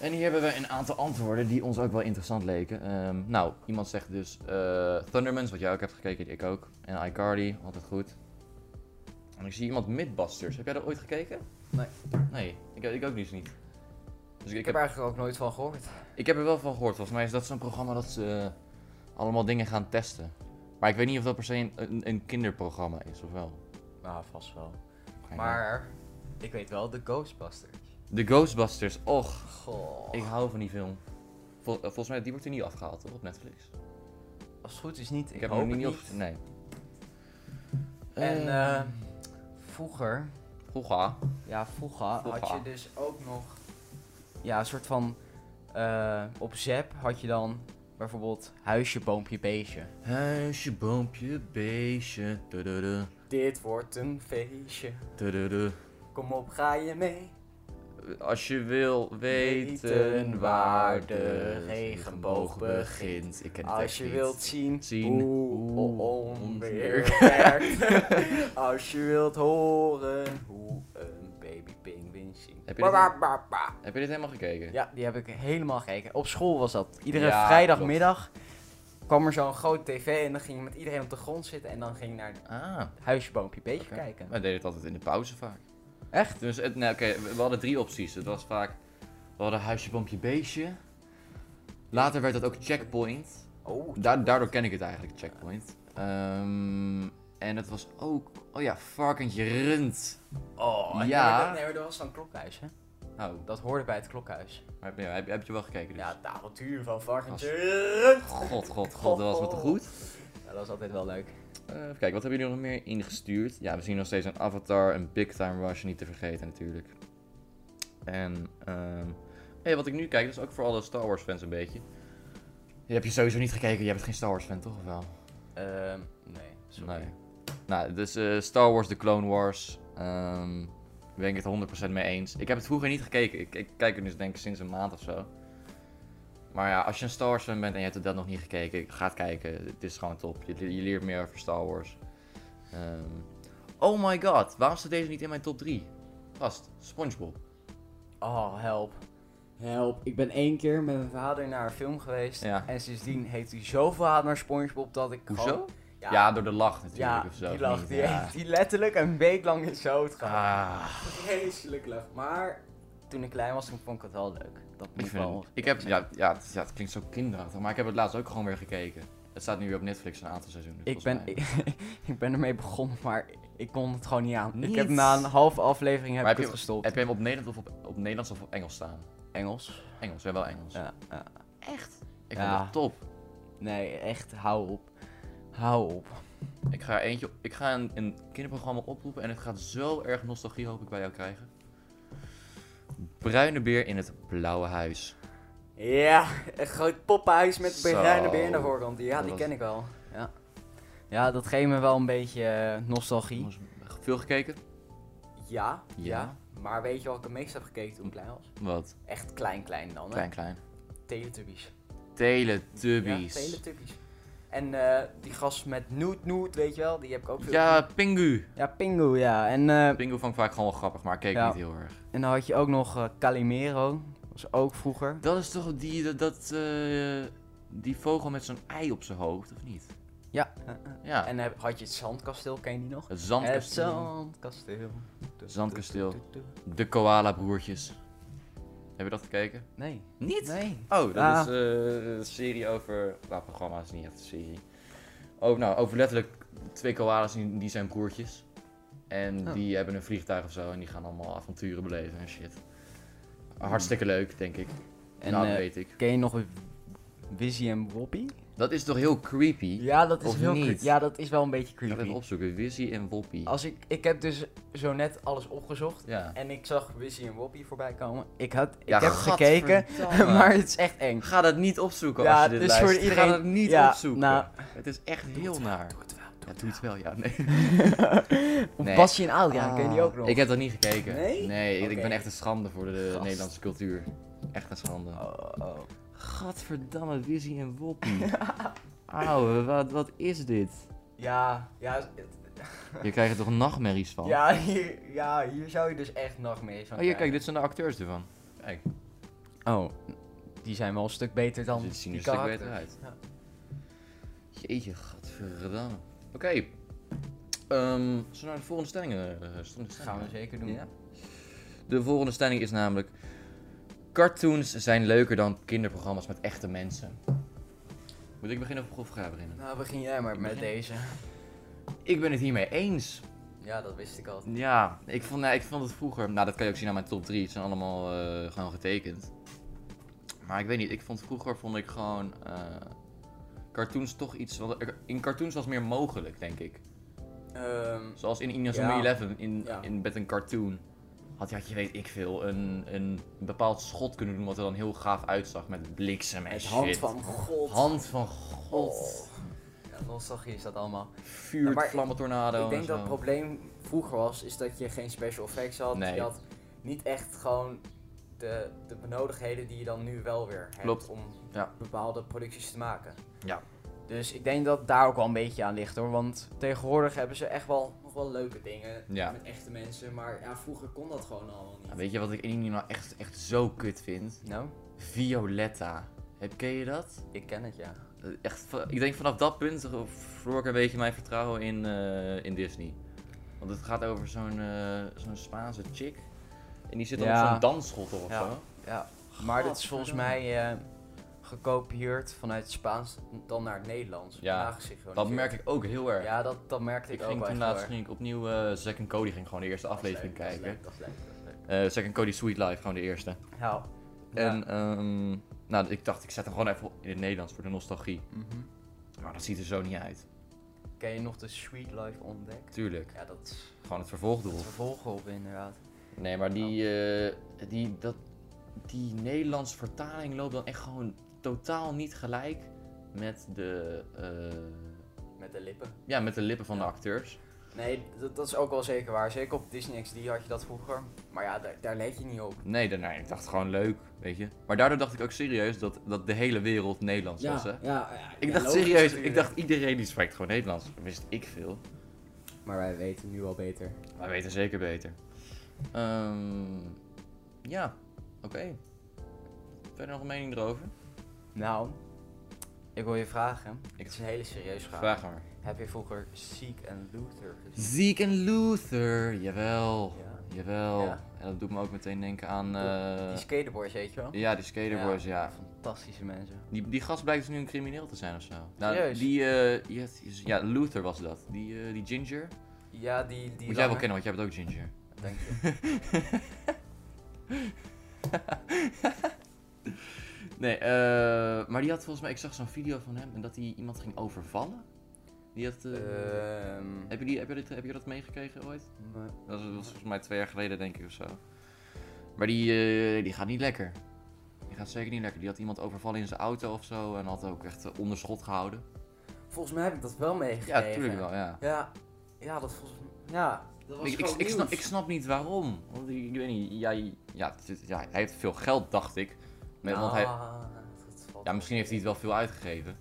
Speaker 1: En hier hebben we een aantal antwoorden die ons ook wel interessant leken. Ehm, nou, iemand zegt dus eh Thundermans, wat jij ook hebt gekeken, ik ook. En iCarly, altijd goed. En ik zie iemand Midbusters. Heb jij dat ooit gekeken?
Speaker 2: Nee.
Speaker 1: Nee, ik, ik ook dus niet. Dus
Speaker 2: Ik heb er eigenlijk ook nooit van gehoord.
Speaker 1: ik heb er wel van gehoord. Volgens mij is dat zo'n programma dat ze eh, allemaal dingen gaan testen. Maar ik weet niet of dat per se een, een, een kinderprogramma is of wel.
Speaker 2: Nou, vast wel.
Speaker 1: Geen idee.
Speaker 2: Maar ik weet wel, de Ghostbusters.
Speaker 1: De Ghostbusters, och,
Speaker 2: Goh.
Speaker 1: ik hou van die film. Vol- eh, volgens mij die wordt er niet afgehaald toch, op Netflix. Ik,
Speaker 2: Als het goed is niet. Ik,
Speaker 1: heb
Speaker 2: hoop
Speaker 1: hem nog
Speaker 2: het
Speaker 1: niet
Speaker 2: niet.
Speaker 1: op. Nee.
Speaker 2: En
Speaker 1: Eh,
Speaker 2: eh, vroeger
Speaker 1: Vroeger.
Speaker 2: Ja, vroeger,
Speaker 1: Vroeger.
Speaker 2: had je dus ook nog. Ja, een soort van. eh, op Zep had je dan bijvoorbeeld huisje, boompje, beestje.
Speaker 1: Huisje, boompje, beestje. tududu,
Speaker 2: Dit wordt een feestje.
Speaker 1: tududu.
Speaker 2: Kom op, ga je mee?
Speaker 1: Als je wil weten waar de regenboog begint. Ik ken het
Speaker 2: Als je wilt zien,
Speaker 1: Zien
Speaker 2: hoe
Speaker 1: hoe
Speaker 2: onweer
Speaker 1: onweer
Speaker 2: werkt. Als je wilt horen hoe een babypinguïn
Speaker 1: Heb
Speaker 2: zingt.
Speaker 1: je dit-
Speaker 2: Ba, ba, ba, ba.
Speaker 1: Heb je dit helemaal gekeken?
Speaker 2: Ja, die heb ik helemaal gekeken. Op school was dat. Iedere
Speaker 1: Ja,
Speaker 2: vrijdagmiddag kwam er zo'n groot tv en dan ging je met iedereen op de grond zitten en dan ging je naar het
Speaker 1: Ah.
Speaker 2: huisje, boompje, beetje
Speaker 1: Oké.
Speaker 2: kijken.
Speaker 1: Wij deden het altijd in de pauze vaak.
Speaker 2: Echt?
Speaker 1: Dus het, nou, oké, we we hadden drie opties. Het was vaak, we hadden huisje, boompje, beestje. Later werd dat ook checkpoint.
Speaker 2: Oh,
Speaker 1: Da- daardoor ken ik het eigenlijk, checkpoint. Ehm, en het was ook, oh ja, varkentje rund.
Speaker 2: oh
Speaker 1: Ja.
Speaker 2: ja. Nee, maar er was zo'n klokhuis, hè?
Speaker 1: Oh,
Speaker 2: Dat hoorde bij het klokhuis.
Speaker 1: maar heb, je- heb, je- heb je wel gekeken dus?
Speaker 2: Ja, de avontuur van varkentje.
Speaker 1: God, god, god, dat was wat te goed.
Speaker 2: Ja, dat was altijd wel leuk.
Speaker 1: Eh, even kijken, wat hebben jullie nog meer ingestuurd? Ja, we zien nog steeds een Avatar, een Big Time Rush, niet te vergeten natuurlijk. En ehm, hey, wat ik nu kijk, dat is ook voor alle Star Wars fans een beetje. Die heb je sowieso niet gekeken, jij bent geen Star Wars fan toch of wel?
Speaker 2: Ehm, nee, sorry.
Speaker 1: Nee. Nou, dus eh, Star Wars, The Clone Wars, ehm ben ik het 100% mee eens. Ik heb het vroeger niet gekeken, ik, ik kijk het dus denk ik sinds een maand of zo. Maar ja, als je een Star Wars fan bent en je hebt dat nog niet gekeken, ga het kijken. Het is gewoon top. Je, je leert meer over Star Wars. Ehm, oh my god, waarom staat deze niet in mijn top 3? Gast, Spongebob.
Speaker 2: Oh, help.
Speaker 4: Help, ik ben één keer met mijn
Speaker 2: We
Speaker 4: vader.
Speaker 2: hadden naar een film geweest.
Speaker 1: Ja.
Speaker 2: En sindsdien heeft hij zoveel haat naar Spongebob dat ik
Speaker 1: Hoezo?
Speaker 2: gewoon...
Speaker 1: Ja, door de lach natuurlijk
Speaker 2: ja,
Speaker 1: of zo.
Speaker 2: die
Speaker 1: of
Speaker 2: lag.
Speaker 1: niet?
Speaker 2: Die
Speaker 1: Ja.
Speaker 2: heeft die letterlijk een week lang in zijn hoofd gehad.
Speaker 1: Ah.
Speaker 4: Vreselijk lach. Maar
Speaker 2: Toen ik klein was, toen vond ik het wel leuk. Dat
Speaker 1: Ik,
Speaker 2: moet
Speaker 1: vind
Speaker 2: wel...
Speaker 1: het, ik heb, ja, ja, het, ja, het klinkt zo kinderachtig, maar ik heb het laatst ook gewoon weer gekeken. Het staat nu weer op Netflix een aantal seizoenen.
Speaker 2: Ik ben,
Speaker 1: volgens
Speaker 2: ik, ben ermee begonnen, maar ik kon het gewoon niet aan. Ik
Speaker 1: Niet?
Speaker 2: heb na een halve aflevering heb
Speaker 1: Maar
Speaker 2: ik
Speaker 1: heb
Speaker 2: het
Speaker 1: mij.
Speaker 2: gestopt.
Speaker 1: Heb je hem op Nederlands of op, op Nederlands of op Engels staan?
Speaker 2: Engels?
Speaker 1: Engels, ja wel Engels.
Speaker 2: Ja, ja.
Speaker 1: Ik
Speaker 2: Ja.
Speaker 1: vond het top.
Speaker 2: Nee, echt, hou op. Hou op.
Speaker 1: Ik ga, er eentje, ik ga een, een kinderprogramma oproepen en het gaat zo erg nostalgie hoop ik bij jou krijgen. Bruine beer in het blauwe huis.
Speaker 2: Ja, een groot poppenhuis met
Speaker 1: Zo.
Speaker 2: bruine beer aan de voorkant. Ja,
Speaker 1: Dat
Speaker 2: die
Speaker 1: was-
Speaker 2: ken ik wel. Ja. ja, dat geeft me wel een beetje eh, nostalgie.
Speaker 1: Jongens, Veel gekeken?
Speaker 2: Ja,
Speaker 1: Ja.
Speaker 2: ja, Maar weet je wat ik het meest heb gekeken toen ik klein was?
Speaker 1: Wat?
Speaker 2: Echt klein, klein dan. Hè?
Speaker 1: Klein, klein.
Speaker 2: Teletubbies.
Speaker 1: Teletubbies.
Speaker 2: Ja,
Speaker 1: Ja,
Speaker 2: Teletubbies. En eh, die gast met Noot Noot, weet je wel, die heb ik ook veel
Speaker 1: Pingu.
Speaker 2: Ja, Pingu, ja. En, eh,
Speaker 1: Pingu vond ik vaak gewoon wel grappig, maar ik keek
Speaker 2: Ja.
Speaker 1: niet heel erg.
Speaker 2: en dan had je ook nog eh, Calimero. was ook vroeger.
Speaker 1: Dat is toch die, dat, dat, eh, die vogel met zo'n ei op zijn hoofd, of niet?
Speaker 2: Ja.
Speaker 1: Ja,
Speaker 2: En heb- had je het Zandkasteel, ken je die nog?
Speaker 1: het
Speaker 2: Het
Speaker 1: zandkasteel,
Speaker 2: Zandkasteel.
Speaker 1: Zandkasteel. de koala-broertjes. Heb je dat gekeken?
Speaker 2: Nee.
Speaker 1: Niet?
Speaker 2: Nee.
Speaker 1: Oh, dat
Speaker 2: Ah.
Speaker 1: is eh, een serie over... Nou, programma is niet echt een serie. Oh, nou, over letterlijk twee koalas die die zijn broertjes. En
Speaker 2: Oh.
Speaker 1: die hebben een vliegtuig of zo en die gaan allemaal avonturen beleven en shit. Hartstikke leuk, denk ik.
Speaker 2: En
Speaker 1: nou, dat
Speaker 2: eh,
Speaker 1: weet ik.
Speaker 2: ken je nog Wizzy en Woppy?
Speaker 1: Dat is toch heel creepy?
Speaker 2: Ja, dat
Speaker 1: is Of heel niet? creep-
Speaker 2: Ja, dat is wel een beetje
Speaker 1: Ik ga het even
Speaker 2: creepy.
Speaker 1: opzoeken. Wizzy en Woppie.
Speaker 2: Als ik, ik heb dus zo net alles opgezocht.
Speaker 1: Ja.
Speaker 2: En ik zag Wizzy en Woppy voorbij komen. Ik, had, ik
Speaker 1: Ja,
Speaker 2: heb gekeken,
Speaker 1: gadverdamme.
Speaker 2: maar het is echt eng.
Speaker 1: Ga dat niet opzoeken
Speaker 2: Ja,
Speaker 1: als je dit
Speaker 2: het is voor
Speaker 1: luistert. Ga
Speaker 2: iedereen-
Speaker 1: dat niet
Speaker 2: ja,
Speaker 1: opzoeken.
Speaker 2: nou.
Speaker 1: het is echt heel naar. Doe het wel. ja, doe het wel, ja. Nee.
Speaker 2: Of
Speaker 1: Nee. Ah.
Speaker 2: Basje en Adriaan, Oh, ken je die ook nog?
Speaker 1: Ik heb dat niet gekeken.
Speaker 4: Nee?
Speaker 1: Nee, ik- ik
Speaker 2: Oké.
Speaker 1: ben echt een schande voor de
Speaker 2: Gast.
Speaker 1: Nederlandse cultuur. Echt een schande.
Speaker 2: Oh, oh.
Speaker 1: Gadverdamme, Wizzy en Woppie. Auwe, wat, wat is dit?
Speaker 2: Ja, ja, het-
Speaker 1: Je krijgt er toch nachtmerries van?
Speaker 2: ja, hier, ja, hier zou je dus echt nachtmerries van
Speaker 1: Oh, hier, kijk,
Speaker 2: krijgen.
Speaker 1: dit zijn de acteurs ervan. Kijk,
Speaker 2: Oh, die zijn wel een stuk beter dan
Speaker 1: dit zien er
Speaker 2: die
Speaker 1: een stuk
Speaker 2: karakters.
Speaker 1: beter uit.
Speaker 2: Ja.
Speaker 1: Jeetje, gadverdamme. Oké. Ehm, zullen we naar de volgende stelling? eh, eh, stelling
Speaker 2: Dat gaan we zeker doen.
Speaker 1: Ja. De volgende stelling is namelijk... Cartoons zijn leuker dan kinderprogramma's met echte mensen. Moet ik beginnen of of ga jij beginnen?
Speaker 2: Nou, begin jij maar met deze.
Speaker 1: Ik ben het hiermee eens.
Speaker 2: Ja, dat wist ik al.
Speaker 1: Ja, ik vond, nou, ik vond het vroeger... Nou, dat kan je ook zien aan mijn top 3. Het zijn allemaal eh, gewoon getekend. Maar ik weet niet, ik vond vroeger vond ik gewoon... eh, cartoons toch iets... wat- er- In cartoons was meer mogelijk, denk ik.
Speaker 2: Ehm,
Speaker 1: Zoals in Inazuma
Speaker 2: Ja.
Speaker 1: 11, in,
Speaker 2: Ja.
Speaker 1: in, met een cartoon. Had je, had je weet ik veel, een, een bepaald schot kunnen doen wat er dan heel gaaf uitzag met bliksem en
Speaker 4: het
Speaker 1: shit.
Speaker 4: hand van God.
Speaker 1: Hand van god.
Speaker 2: Oh. ja, nostalgie is dat allemaal.
Speaker 1: Vuur,
Speaker 2: Ja, maar ik-
Speaker 1: vlammentornado
Speaker 2: ik denk
Speaker 1: en
Speaker 2: dat
Speaker 1: zo.
Speaker 2: het probleem vroeger was, is dat je geen special effects had.
Speaker 1: Nee.
Speaker 2: Je had niet echt gewoon de, de benodigdheden die je dan nu wel weer hebt
Speaker 1: Klopt.
Speaker 2: om
Speaker 1: Ja.
Speaker 2: bepaalde producties te maken.
Speaker 1: Ja.
Speaker 2: Dus ik denk dat het daar ook wel een beetje aan ligt hoor, want tegenwoordig hebben ze echt wel nog wel leuke dingen
Speaker 1: Ja.
Speaker 2: met
Speaker 4: Echte mensen, maar ja, vroeger kon dat gewoon allemaal niet.
Speaker 1: Ja, Weet je wat ik in ieder geval nou echt, echt zo kut vind?
Speaker 2: Nou,
Speaker 1: Violetta. Heb, ken je dat?
Speaker 2: ik ken het ja.
Speaker 1: Eh, Echt, va- ik denk vanaf dat punt verloor ik een beetje mijn vertrouwen in, eh, in Disney. Want het gaat over zo'n eh, zo'n Spaanse chick. En die zit dan
Speaker 2: Ja.
Speaker 1: op zo'n dansschottel of
Speaker 2: Ja.
Speaker 1: zo.
Speaker 2: Ja, maar dit is volgens mij eh, gekopieerd vanuit het Spaans dan naar het Nederlands.
Speaker 1: Ja, Dat
Speaker 2: nagesynchroniseerd.
Speaker 1: merk ik ook heel erg.
Speaker 2: Ja, dat, dat merkte ik,
Speaker 1: ik
Speaker 2: ook
Speaker 1: ging
Speaker 2: wel
Speaker 1: toen
Speaker 2: echt
Speaker 1: laatst
Speaker 2: heel erg.
Speaker 1: ging ik opnieuw eh Zack en Cody ging gewoon de eerste
Speaker 2: Dat is
Speaker 1: aflevering
Speaker 2: leuk, dat is
Speaker 1: kijken.
Speaker 2: leuk, dat is leuk, dat is leuk. Nou,
Speaker 1: Eh Zack en Cody Sweet Life, gewoon de eerste.
Speaker 2: Ja.
Speaker 1: En ehm, nou, ik dacht, ik zet hem gewoon even in het Nederlands voor de nostalgie.
Speaker 2: Mhm.
Speaker 1: Maar dat ziet er zo niet uit.
Speaker 2: Ken je nog de Sweet Life ontdekt?
Speaker 1: Tuurlijk.
Speaker 2: Ja, dat is
Speaker 1: Gewoon het
Speaker 2: het
Speaker 1: vervolgdoel.
Speaker 2: vervolg op inderdaad.
Speaker 1: Nee, maar die, eh, die, dat, die Nederlandse vertaling loopt dan echt gewoon totaal niet gelijk met de, eh,
Speaker 2: Met de lippen.
Speaker 1: ja, met de lippen van de
Speaker 2: Ja.
Speaker 1: acteurs.
Speaker 2: Nee, dat, dat is ook wel zeker waar. Zeker op Disney XD had je dat vroeger. Maar ja, daar, daar let je niet op.
Speaker 1: Nee, dan- nee, ik dacht gewoon leuk, weet je. Maar daardoor dacht ik ook serieus dat, dat de hele wereld Nederlands was, hè.
Speaker 4: ja, ja, ja,
Speaker 1: Ik
Speaker 4: ja,
Speaker 1: dacht
Speaker 4: logisch
Speaker 1: serieus, ik
Speaker 4: natuurlijk.
Speaker 1: dacht iedereen die spreekt gewoon Nederlands. Wist ik veel.
Speaker 4: Maar wij weten nu al beter.
Speaker 1: Wij weten zeker beter. Ehm, ja, oké. Verder nog een mening erover?
Speaker 2: Nou, ik wil je vragen.
Speaker 1: Ik-
Speaker 2: Het is een hele serieuze vraag.
Speaker 1: Vraag maar.
Speaker 2: Heb je vroeger Seek en Luther gezien?
Speaker 1: Zeke en Luther, jawel.
Speaker 2: Ja.
Speaker 1: Jawel.
Speaker 2: Ja.
Speaker 1: En dat doet me ook meteen denken aan... eh,
Speaker 2: Die skateboards, weet je wel?
Speaker 1: ja, die skaterboys, ja.
Speaker 2: Fantastische mensen.
Speaker 1: Die, die gast blijkt dus nu een crimineel te zijn of zo. Nou,
Speaker 2: Serieus?
Speaker 1: die, eh, die had- ja, Luther was dat. Die, eh, die Ginger.
Speaker 2: Ja, die... die
Speaker 1: Moet jij wel
Speaker 2: lange-
Speaker 1: kennen, want jij bent ook Ginger.
Speaker 2: Dank je.
Speaker 1: Nee, eh, maar die had volgens mij, ik zag zo'n video van hem en dat hij iemand ging overvallen. Die had, eh,
Speaker 2: Ehm,
Speaker 1: heb, je die, heb, je dit, heb je dat meegekregen ooit?
Speaker 2: maar-
Speaker 1: Dat was, dat was volgens mij twee jaar geleden, denk ik of zo. Maar die, eh, die gaat niet lekker. Die gaat zeker niet lekker. Die had iemand overvallen in zijn auto of zo en had ook echt eh, onderschot gehouden.
Speaker 2: Volgens mij heb ik dat wel meegekregen.
Speaker 1: Ja, tuurlijk wel, ja.
Speaker 2: Ja, ja dat volgens mij... Ja,
Speaker 4: Dat was
Speaker 1: Ik, ik,
Speaker 4: gewoon
Speaker 1: ik, snap,
Speaker 4: nieuws.
Speaker 1: ik snap niet waarom. Want ik, ik weet niet, jij, ja, het is- ja, hij heeft veel geld, dacht ik. Met, want hij,
Speaker 2: Ah, dat valt
Speaker 1: ja, misschien heeft hij het wel veel uitgegeven.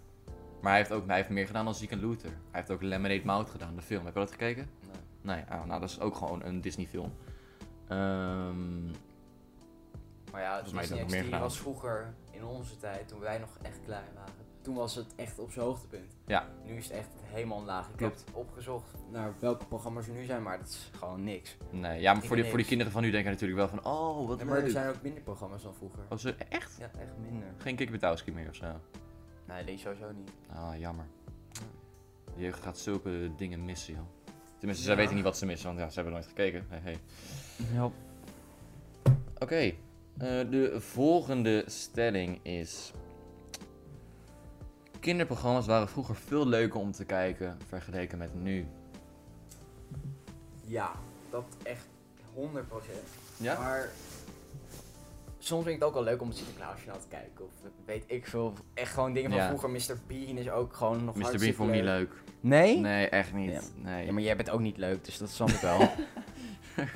Speaker 1: Maar hij heeft ook hij heeft meer gedaan dan Zeke en Luther. Hij heeft ook Lemonade Mouth gedaan, de film. Heb je dat gekeken?
Speaker 2: Nee.
Speaker 1: Nee, ah, nou dat is ook gewoon een Disney film. Ehm,
Speaker 2: Maar ja,
Speaker 1: Volgens mij
Speaker 2: Disney
Speaker 1: heeft hij nog meer
Speaker 2: XD
Speaker 1: gedaan.
Speaker 2: was vroeger in onze tijd, toen wij nog echt klein waren.
Speaker 4: Toen was het echt op zijn hoogtepunt.
Speaker 2: Nu is het echt helemaal laag. Ik
Speaker 1: Klopt.
Speaker 2: heb het opgezocht
Speaker 4: Naar welke programma?
Speaker 2: programma's er nu zijn, maar dat is gewoon niks.
Speaker 1: nee, ja, maar
Speaker 2: Ik
Speaker 1: voor die,
Speaker 2: niks.
Speaker 1: voor die kinderen van nu denken natuurlijk wel van, oh, wat
Speaker 2: Nee, maar
Speaker 1: leuk.
Speaker 2: er zijn ook minder programma's dan vroeger.
Speaker 1: Oh, ze, echt?
Speaker 2: Ja, echt minder.
Speaker 1: Geen Kikbetowski meer of zo?
Speaker 2: Nee, lees sowieso niet.
Speaker 1: Ah, jammer. De jeugd gaat zulke dingen missen, joh. Tenminste, zij weten niet wat ze missen, want ja, ze hebben nooit gekeken. Hey, hey.
Speaker 2: Ja.
Speaker 1: Oké, eh, de volgende stelling is... Kinderprogramma's waren vroeger veel leuker om te kijken vergeleken met nu.
Speaker 2: Ja, dat echt 100
Speaker 1: Ja?
Speaker 2: Maar soms vind ik het ook wel leuk om Sinterklaasje nou te kijken. Of weet ik veel. Echt gewoon dingen van
Speaker 1: Ja.
Speaker 2: vroeger. Mr. Bean is ook gewoon nog
Speaker 1: Mr. Bean
Speaker 2: hartstikke
Speaker 1: vond ik niet leuk.
Speaker 2: Nee?
Speaker 1: Nee, echt
Speaker 2: Ja.
Speaker 1: niet. Nee.
Speaker 2: Ja, maar jij bent ook niet leuk, dus dat snap ik wel.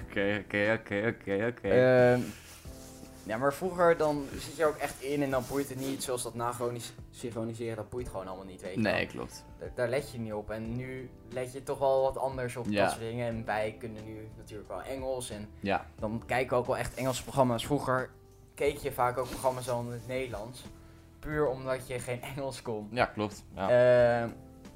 Speaker 1: Oké, oké, oké, oké, oké.
Speaker 2: Ehm, ja, maar vroeger dan zit je ook echt in en dan boeit het niet. Zoals dat synchroniseren, dat boeit gewoon allemaal niet, weet je wel.
Speaker 1: Nee, klopt.
Speaker 2: Daar- Daar let je niet op. En nu let je toch wel wat anders op
Speaker 1: Ja.
Speaker 2: dat soort dingen. En wij kunnen nu natuurlijk wel Engels. En
Speaker 1: Ja,
Speaker 2: dan kijken we ook wel echt Engelse programma's. Vroeger keek je vaak ook programma's dan in het Nederlands. Puur omdat je geen Engels kon.
Speaker 1: ja klopt. Ja.
Speaker 2: Ehm,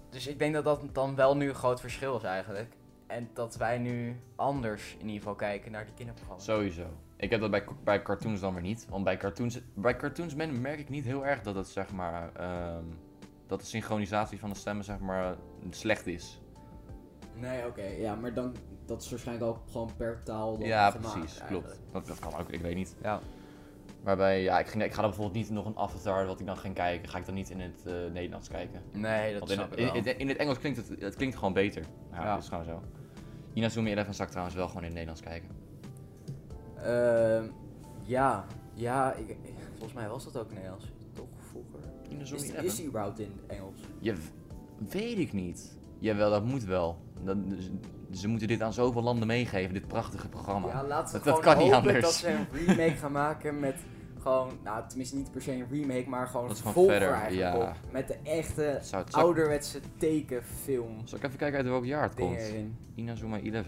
Speaker 2: dus ik denk dat dat dan wel nu een groot verschil is eigenlijk. En dat wij nu anders in ieder geval kijken naar die kinderprogramma's.
Speaker 1: Sowieso. Ik heb dat bij, bij cartoons dan weer niet. Want bij cartoons, bij cartoons men- merk ik niet heel erg dat het zeg maar. ehm, dat de synchronisatie van de stemmen zeg maar eh, slecht is.
Speaker 4: Nee, oké. ja, maar dan, dat is waarschijnlijk ook gewoon per taal dan
Speaker 1: ja,
Speaker 4: gemaakt,
Speaker 1: precies.
Speaker 4: eigenlijk.
Speaker 1: Klopt. Dat, dat kan ook, ik weet niet.
Speaker 2: Ja.
Speaker 1: Waarbij, ja, ik, ging, ik ga dan bijvoorbeeld niet nog een avatar wat ik dan ging kijken. Ga ik dan niet in het eh, Nederlands kijken.
Speaker 2: Nee, dat
Speaker 1: Want in,
Speaker 2: snap ik
Speaker 1: in,
Speaker 2: wel.
Speaker 1: in, in het Engels klinkt het, het klinkt gewoon beter. Ja,
Speaker 2: Ja.
Speaker 1: dat is gewoon zo. Inazumi 11 zak trouwens wel gewoon in het Nederlands kijken.
Speaker 2: Ehm, ja, ja, ik, volgens mij was dat ook Nederlands. Toch vroeger.
Speaker 1: Inazumi
Speaker 4: Is,
Speaker 1: 11? Oh,
Speaker 4: is die überhaupt in het Engels?
Speaker 1: Je, weet ik niet. Jawel, dat moet wel. dat, ze moeten dit aan zoveel landen meegeven, dit prachtige programma.
Speaker 2: Ja, laten
Speaker 1: Dat- dat
Speaker 2: we gewoon
Speaker 1: kan niet
Speaker 2: hopen
Speaker 1: anders.
Speaker 2: dat ze een remake gaan maken met gewoon, nou tenminste niet per se een remake, maar gewoon
Speaker 1: Dat
Speaker 2: een
Speaker 1: is gewoon
Speaker 2: vervolger
Speaker 1: verder,
Speaker 2: eigenlijk
Speaker 1: ja.
Speaker 2: op. Met de echte
Speaker 1: Zou, het- zou,
Speaker 2: ouderwetse tekenfilm
Speaker 1: zal ik even kijken uit welk jaar het
Speaker 2: dingen
Speaker 1: komt?
Speaker 2: erin.
Speaker 1: Inazuma 11.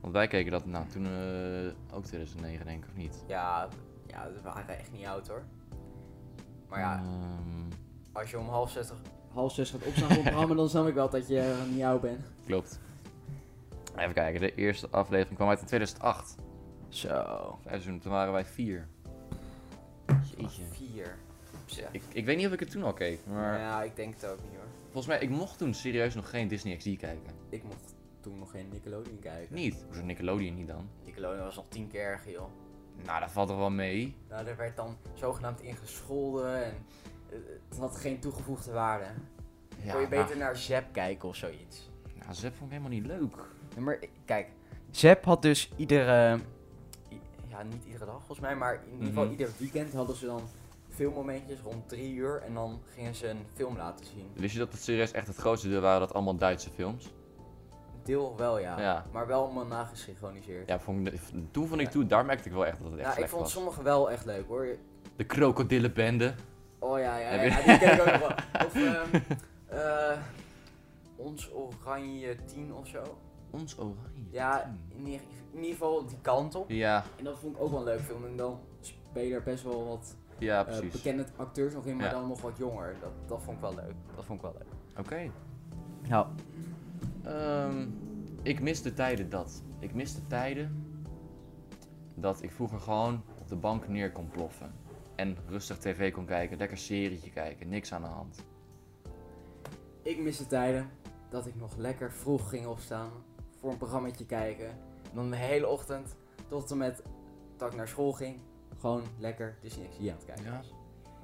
Speaker 1: Want wij keken dat, nou toen eh, ook 2009 denk ik, of niet?
Speaker 2: Ja, ja, we waren echt niet oud hoor. Maar ja,
Speaker 1: Ehm,
Speaker 2: als je om half zestig...
Speaker 4: half zes gaat opstaan voor een programma, dan snap ik wel dat je eh, niet oud bent.
Speaker 1: klopt. Even kijken, de eerste aflevering kwam uit in 2008.
Speaker 2: Zo.
Speaker 1: Vijf seizoenen, toen waren wij vier. Jeetje.
Speaker 2: Vier. Ja.
Speaker 1: Ik, ik weet niet of ik het toen al keek, maar
Speaker 2: ja, ik denk het ook niet hoor.
Speaker 1: volgens mij, ik mocht toen serieus nog geen Disney XD kijken.
Speaker 2: Ik mocht toen nog geen Nickelodeon kijken.
Speaker 1: Niet. Hoezo Nickelodeon niet dan?
Speaker 2: Nickelodeon was nog tien keer erger joh.
Speaker 1: Nou, dat valt toch wel mee?
Speaker 2: Nou, er werd dan zogenaamd ingescholden en eh, het had geen toegevoegde waarde.
Speaker 1: Ja,
Speaker 2: Kon je beter
Speaker 1: nou,
Speaker 2: naar Zep kijken of zoiets.
Speaker 1: nou, Zep vond ik helemaal niet leuk.
Speaker 2: Nummer, kijk, Zep had dus iedere, i- ja niet iedere dag volgens mij, maar in ieder geval
Speaker 1: Mhm.
Speaker 2: ieder weekend hadden ze dan filmmomentjes rond drie uur en dan gingen ze een film laten zien.
Speaker 1: Wist je dat het serieus echt het grootste deel waren dat allemaal Duitse films?
Speaker 2: Deel wel ja,
Speaker 1: Ja.
Speaker 2: maar wel allemaal nagesynchroniseerd.
Speaker 1: Ja, vond ik, toen vond ik toe, daar merkte ik wel echt dat het echt
Speaker 2: Ja, ik
Speaker 1: slecht
Speaker 2: vond
Speaker 1: was.
Speaker 2: sommige wel echt leuk hoor.
Speaker 1: De krokodillenbende.
Speaker 2: Oh ja, ja, ja,
Speaker 1: Heb je-
Speaker 2: ja, die ken ik ook nog wel. Of ehm, eh, Ons Oranje 10 of zo.
Speaker 1: Ons oranje.
Speaker 2: Ja,
Speaker 1: team.
Speaker 2: in ieder, in ieder geval die kant op.
Speaker 1: Hmm. Ja,
Speaker 4: En dat vond ik ook wel een leuk film. En dan spelen er best wel wat
Speaker 1: ja,
Speaker 4: eh,
Speaker 1: precies.
Speaker 4: bekende acteurs nog in, maar
Speaker 1: Ja.
Speaker 4: dan
Speaker 2: Dan nog wat jonger. Dat, dat vond ik wel leuk. Dat vond ik wel leuk.
Speaker 1: Oké.
Speaker 2: Nou,
Speaker 1: Ehm, ik mis de tijden dat. Ik mis de tijden dat ik vroeger gewoon op de bank neer kon ploffen. En rustig tv kon kijken, lekker serietje kijken, niks aan de hand.
Speaker 4: Ik mis de tijden dat ik nog lekker vroeg ging opstaan voor een programmaatje kijken.
Speaker 2: dan de hele ochtend
Speaker 4: Tot en met dat ik naar school ging, gewoon lekker Disney XD aan het kijken.
Speaker 1: Ja.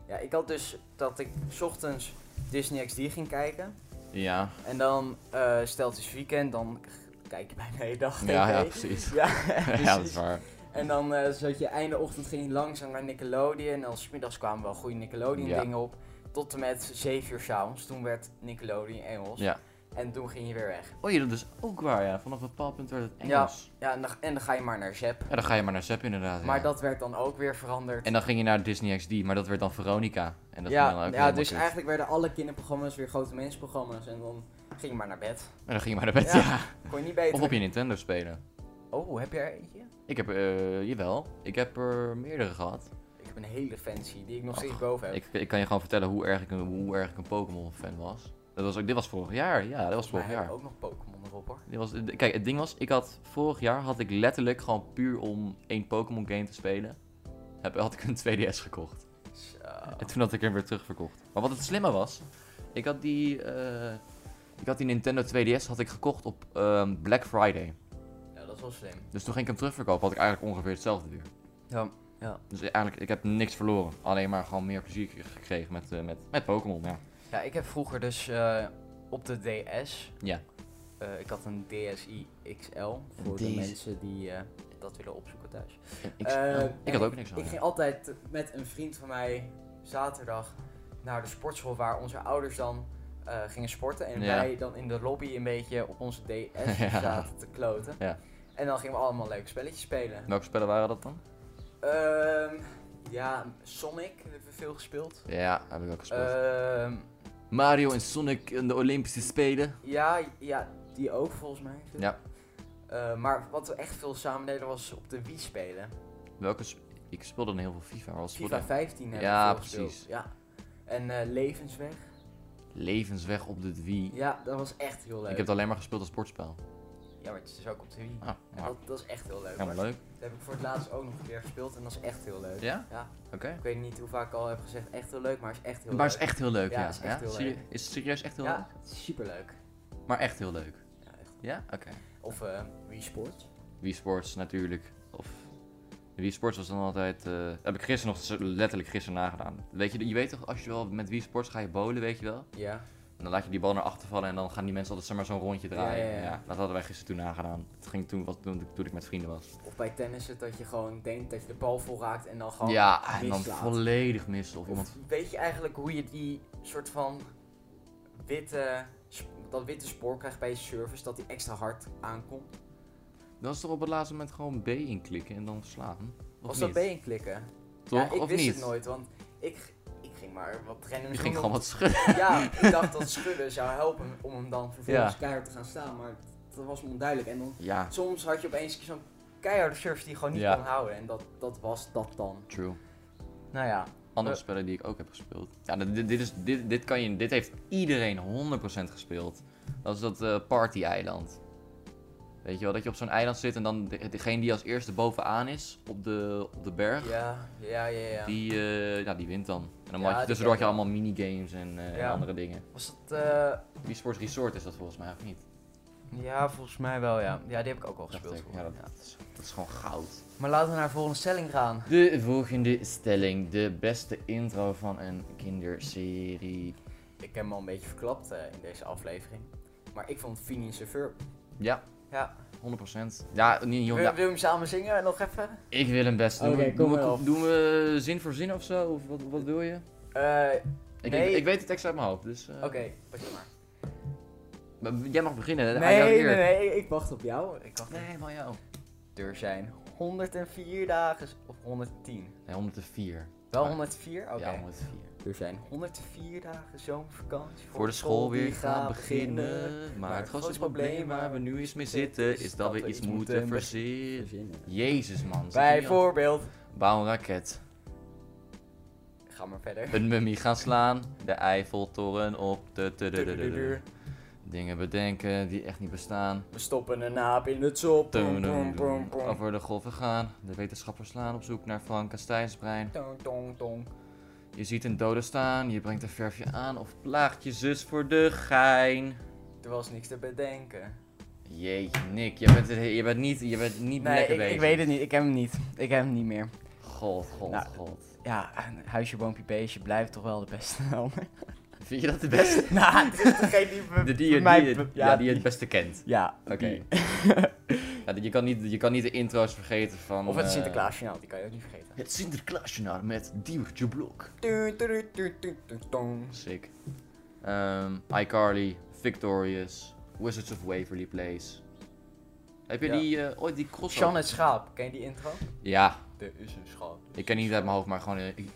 Speaker 2: Ja, ik had dus dat ik 's ochtends Disney XD ging kijken.
Speaker 1: Ja,
Speaker 2: En dan eh stelt het weekend, dan k- kijk je bijna de hele dag.
Speaker 1: ja,
Speaker 2: TV.
Speaker 1: ja precies.
Speaker 2: Ja,
Speaker 1: Ja, dat is waar.
Speaker 2: En dan eh zat je einde ochtend ging je langzaam naar Nickelodeon. En dan smiddags kwamen wel goede Nickelodeon
Speaker 1: Ja.
Speaker 2: dingen op. Tot en met 7 uur s'avonds. Toen werd Nickelodeon Engels.
Speaker 1: Ja.
Speaker 2: En toen ging je weer weg.
Speaker 1: Oh ja, dat is ook waar, ja. Vanaf een bepaald punt werd het Engels.
Speaker 2: Ja, en dan, en dan ga je maar naar Zep.
Speaker 1: Ja, dan ga je maar naar Zep inderdaad.
Speaker 2: Maar
Speaker 1: ja.
Speaker 2: dat werd dan ook weer veranderd.
Speaker 1: En dan ging je naar Disney XD, maar dat werd dan Veronica. En dat ging dan
Speaker 2: ja,
Speaker 1: ook
Speaker 2: ja
Speaker 1: helemaal
Speaker 2: dus
Speaker 1: kut.
Speaker 2: eigenlijk werden alle kinderprogramma's weer grote mensenprogramma's. En dan ging je maar naar bed.
Speaker 1: En dan ging je maar naar bed,
Speaker 2: Ja.
Speaker 1: ja.
Speaker 2: Kon je niet beter.
Speaker 1: Of op je Nintendo spelen.
Speaker 2: Oh, heb jij er eentje?
Speaker 1: Ik heb, eh, jawel, ik heb er meerdere gehad.
Speaker 2: Ik heb een hele fancy die ik nog
Speaker 1: Och,
Speaker 2: steeds boven heb.
Speaker 1: Ik, ik kan je gewoon vertellen hoe erg ik een, hoe erg ik een Pokémon-fan was. Dat was ook, dit was vorig jaar, ja, dat was
Speaker 2: Volgens
Speaker 1: vorig
Speaker 2: mij heb
Speaker 1: jaar.
Speaker 2: ik ook nog Pokémon erop hoor.
Speaker 1: Dit was, kijk, het ding was, ik had, vorig jaar had ik letterlijk gewoon puur om één Pokémon-game te spelen, heb, had ik een 2DS gekocht.
Speaker 2: Zo.
Speaker 1: En toen had ik hem weer terugverkocht. Maar wat het slimme was, ik had die, eh, ik had die Nintendo 2DS had ik gekocht op ehm, Black Friday.
Speaker 2: Ja, dat is wel slim.
Speaker 1: Dus toen ging ik hem terugverkopen, had ik eigenlijk ongeveer hetzelfde weer.
Speaker 2: Ja.
Speaker 1: Dus eigenlijk, ik heb niks verloren. Alleen maar gewoon meer plezier gekregen met, eh, met, met Pokémon, ja.
Speaker 2: Ja, ik heb vroeger dus eh, op de DS.
Speaker 1: Ja.
Speaker 2: eh, ik had een DSi XL voor de
Speaker 1: Deze-
Speaker 2: mensen die eh, dat willen opzoeken thuis.
Speaker 1: Ik, oh,
Speaker 2: Eh,
Speaker 1: ik had ook niks aan.
Speaker 2: Ik ging altijd met een vriend van mij zaterdag naar de sportschool waar onze ouders dan eh, gingen sporten. En
Speaker 1: Ja.
Speaker 2: wij dan in de lobby een beetje op onze DS
Speaker 1: Ja.
Speaker 2: zaten te kloten.
Speaker 1: Ja.
Speaker 2: En dan gingen we allemaal leuke spelletjes spelen.
Speaker 1: Welke spellen waren dat dan? Nou.
Speaker 2: Ehm, ja, Sonic hebben we veel gespeeld.
Speaker 1: Ja, heb ik ook gespeeld.
Speaker 2: Ehm,
Speaker 1: Mario en Sonic in de Olympische Spelen.
Speaker 2: ja, ja, die ook volgens mij. veel.
Speaker 1: Ja.
Speaker 2: Eh, maar wat we echt veel samen deden was op de Wii spelen.
Speaker 1: Welke sp- ik speelde dan heel veel FIFA. maar Wat speelde
Speaker 2: FIFA
Speaker 1: ik?
Speaker 2: 15 hebben
Speaker 1: Ja,
Speaker 2: we veel gespeeld.
Speaker 1: precies.
Speaker 2: Ja. En eh, Levensweg.
Speaker 1: Levensweg op de Wii.
Speaker 2: Ja, dat was echt heel leuk.
Speaker 1: Ik heb het alleen maar gespeeld als sportspel.
Speaker 2: Ja, maar het is dus ook op de Wii.
Speaker 1: Ah,
Speaker 2: En
Speaker 1: maar,
Speaker 2: dat, dat is echt heel leuk.
Speaker 1: helemaal
Speaker 2: hoor.
Speaker 1: leuk.
Speaker 2: Dat heb ik voor het laatst ook nog een keer gespeeld en dat is echt heel leuk.
Speaker 1: Ja?
Speaker 2: Ja.
Speaker 1: Oké.
Speaker 2: Ik weet niet hoe vaak ik al heb gezegd echt heel leuk, maar het is echt heel
Speaker 1: Maar
Speaker 2: leuk.
Speaker 1: het is echt heel leuk, ja.
Speaker 2: Ja, het is echt heel
Speaker 1: Serie-
Speaker 2: leuk.
Speaker 1: Is het serieus echt heel
Speaker 2: Ja,
Speaker 1: leuk?
Speaker 2: het is superleuk.
Speaker 1: Maar echt heel leuk.
Speaker 2: Ja, echt.
Speaker 1: Ja? Oké.
Speaker 2: Of eh Wii Sports.
Speaker 1: Wii Sports natuurlijk. Of... Wii Sports was dan altijd... eh, heb ik gisteren nog letterlijk gisteren nagedaan. Weet je, je weet toch, als je wel met Wii Sports ga je bowlen, weet je wel?
Speaker 2: Ja.
Speaker 1: En dan laat je die bal naar achter vallen en dan gaan die mensen altijd zeg maar, zo'n rondje draaien. Ja,
Speaker 2: Ja, ja, ja.
Speaker 1: dat hadden wij gisteren toen nagedaan. Dat ging toen, wat, toen, toen ik met vrienden was.
Speaker 2: Of bij tennissen dat je gewoon denkt dat je de bal vol raakt en dan gewoon...
Speaker 1: ja, en dan
Speaker 2: mislaat.
Speaker 1: volledig missen. Of
Speaker 2: Of
Speaker 1: iemand...
Speaker 2: weet je eigenlijk hoe je die soort van witte, sp- dat witte spoor krijgt bij je service, dat die extra hard aankomt.
Speaker 1: Dan is toch op het laatste moment gewoon B inklikken en dan slaan? Of
Speaker 2: Als
Speaker 1: niet?
Speaker 2: dat B klikken.
Speaker 1: Toch?
Speaker 2: Ja, ik
Speaker 1: of
Speaker 2: wist
Speaker 1: niet?
Speaker 2: het nooit, want ik, ik ging maar wat random
Speaker 1: Je ging gewoon wat schudden.
Speaker 2: Ja, ik dacht dat schudden zou helpen om hem dan vervolgens...
Speaker 4: Volgens keihard te gaan staan, maar dat was me onduidelijk. En dan,
Speaker 1: Ja,
Speaker 2: Soms had je opeens zo'n keiharde surf die je gewoon niet
Speaker 1: Ja.
Speaker 2: kon houden. En dat, dat was dat dan.
Speaker 1: true.
Speaker 2: Nou ja,
Speaker 1: Andere
Speaker 2: Eh.
Speaker 1: spellen die ik ook heb gespeeld. Ja, dit- dit, dit, is, dit, dit, kan je, dit heeft iedereen 100% gespeeld. Dat is dat eh, party-eiland. Weet je wel, dat je op zo'n eiland zit en dan de- degene die als eerste bovenaan is op de, op de berg,
Speaker 2: ja, ja, ja, ja.
Speaker 1: die, eh, ja, die wint dan. En dan
Speaker 2: Ja,
Speaker 1: had je
Speaker 2: die
Speaker 1: tussendoor had je
Speaker 2: ken ik.
Speaker 1: allemaal minigames en, eh, en
Speaker 2: Ja.
Speaker 1: andere dingen.
Speaker 2: Was dat... eh,
Speaker 1: Die Sports Resort is dat volgens mij, of niet?
Speaker 2: ja, volgens mij wel, ja. Ja, die heb ik ook al
Speaker 1: Dacht
Speaker 2: gespeeld.
Speaker 1: ik.
Speaker 2: volgens
Speaker 1: Ja,
Speaker 2: mij,
Speaker 1: dat,
Speaker 2: ja.
Speaker 1: dat is, dat is gewoon goud.
Speaker 2: Maar laten we naar de volgende stelling gaan.
Speaker 1: De volgende stelling, de beste intro van een kinderserie.
Speaker 2: Ik heb hem al een beetje verklapt eh, in deze aflevering. Maar ik vond Phoenix Surfer.
Speaker 1: Ja,
Speaker 2: Ja.
Speaker 1: 100%. Ja, niet joh,
Speaker 2: Wil, wil
Speaker 1: ja.
Speaker 2: je hem samen zingen nog even?
Speaker 1: ik wil hem best. Doen, we,
Speaker 4: Oké, kom
Speaker 1: doen, we,
Speaker 4: maar op.
Speaker 1: doen we zin voor zin of zo? Of wat, wat wil je?
Speaker 2: Eh,
Speaker 1: Ik,
Speaker 2: Nee.
Speaker 1: ik, ik weet het tekst uit mijn hoofd, dus... eh,
Speaker 2: Oké, begin maar.
Speaker 1: maar Jij mag beginnen, hè? Hij
Speaker 4: Nee,
Speaker 1: had
Speaker 4: nee,
Speaker 1: eer.
Speaker 4: nee, ik wacht op jou.
Speaker 2: Ik dacht,
Speaker 1: Nee, van jou.
Speaker 2: er zijn 104 dagen of 110.
Speaker 1: Nee, 104.
Speaker 2: Wel
Speaker 1: Maar-
Speaker 2: 104? Oké.
Speaker 1: Ja, 104.
Speaker 2: Er zijn 104 dagen zomervakantie
Speaker 1: Voor de school weer gaan beginnen. Maar het grootste probleem waar we nu eens mee zitten, is dat we iets moeten verzinnen.
Speaker 4: Verzinnen.
Speaker 1: Jezus, man. zit er niet op.
Speaker 2: Bijvoorbeeld.
Speaker 1: Bouw een raket.
Speaker 2: Ga maar verder.
Speaker 1: Een mummie gaan slaan, de Eiffeltoren op, de, de, de, de, de, de. dingen bedenken die echt niet bestaan.
Speaker 2: We stoppen een naap in het sop. Pom, pom, pom, pom.
Speaker 1: Over de golven gaan, de wetenschappers slaan op zoek naar Frankensteins brein.
Speaker 2: Tong, tong, tong.
Speaker 1: Je ziet een dode staan, je brengt een verfje aan of plaagt je zus voor de gein.
Speaker 2: Er was niks te bedenken.
Speaker 1: Jeetje, Nick, je bent, je bent niet, je bent niet
Speaker 2: Nee,
Speaker 1: lekker
Speaker 2: ik,
Speaker 1: bezig.
Speaker 2: ik weet het niet. Ik heb hem niet. Ik heb hem niet meer.
Speaker 1: God, god,
Speaker 2: Nou.
Speaker 1: god.
Speaker 2: Ja, huisje, boompje, beestje blijft toch wel de beste helmer.
Speaker 1: Vind je dat de beste?
Speaker 2: nou, dit is degene die me-
Speaker 1: De die,
Speaker 2: voor
Speaker 1: je-
Speaker 2: mij
Speaker 1: die, je-
Speaker 2: be-
Speaker 1: ja, die je het
Speaker 2: die-
Speaker 1: beste kent.
Speaker 2: Ja,
Speaker 1: Oké.
Speaker 2: die.
Speaker 1: Ja, je, kan niet, je kan niet de intro's vergeten van...
Speaker 2: Of het
Speaker 1: eh,
Speaker 2: Sinterklaasjournaal, die kan je ook niet vergeten.
Speaker 1: Het Sinterklaasjournaal met Diewertje Blok.
Speaker 2: Tu, tu, tu, tu, tu, tong.
Speaker 1: Sick. Ehm, iCarly, Victorious, Wizards of Waverly Place. Heb je
Speaker 2: Ja.
Speaker 1: die eh, ooit die cross?
Speaker 2: Sean het schaap, ken je die intro?
Speaker 1: Ja,
Speaker 2: Er is een schaap.
Speaker 1: ik ken niet uit mijn hoofd, maar gewoon. eh, ik-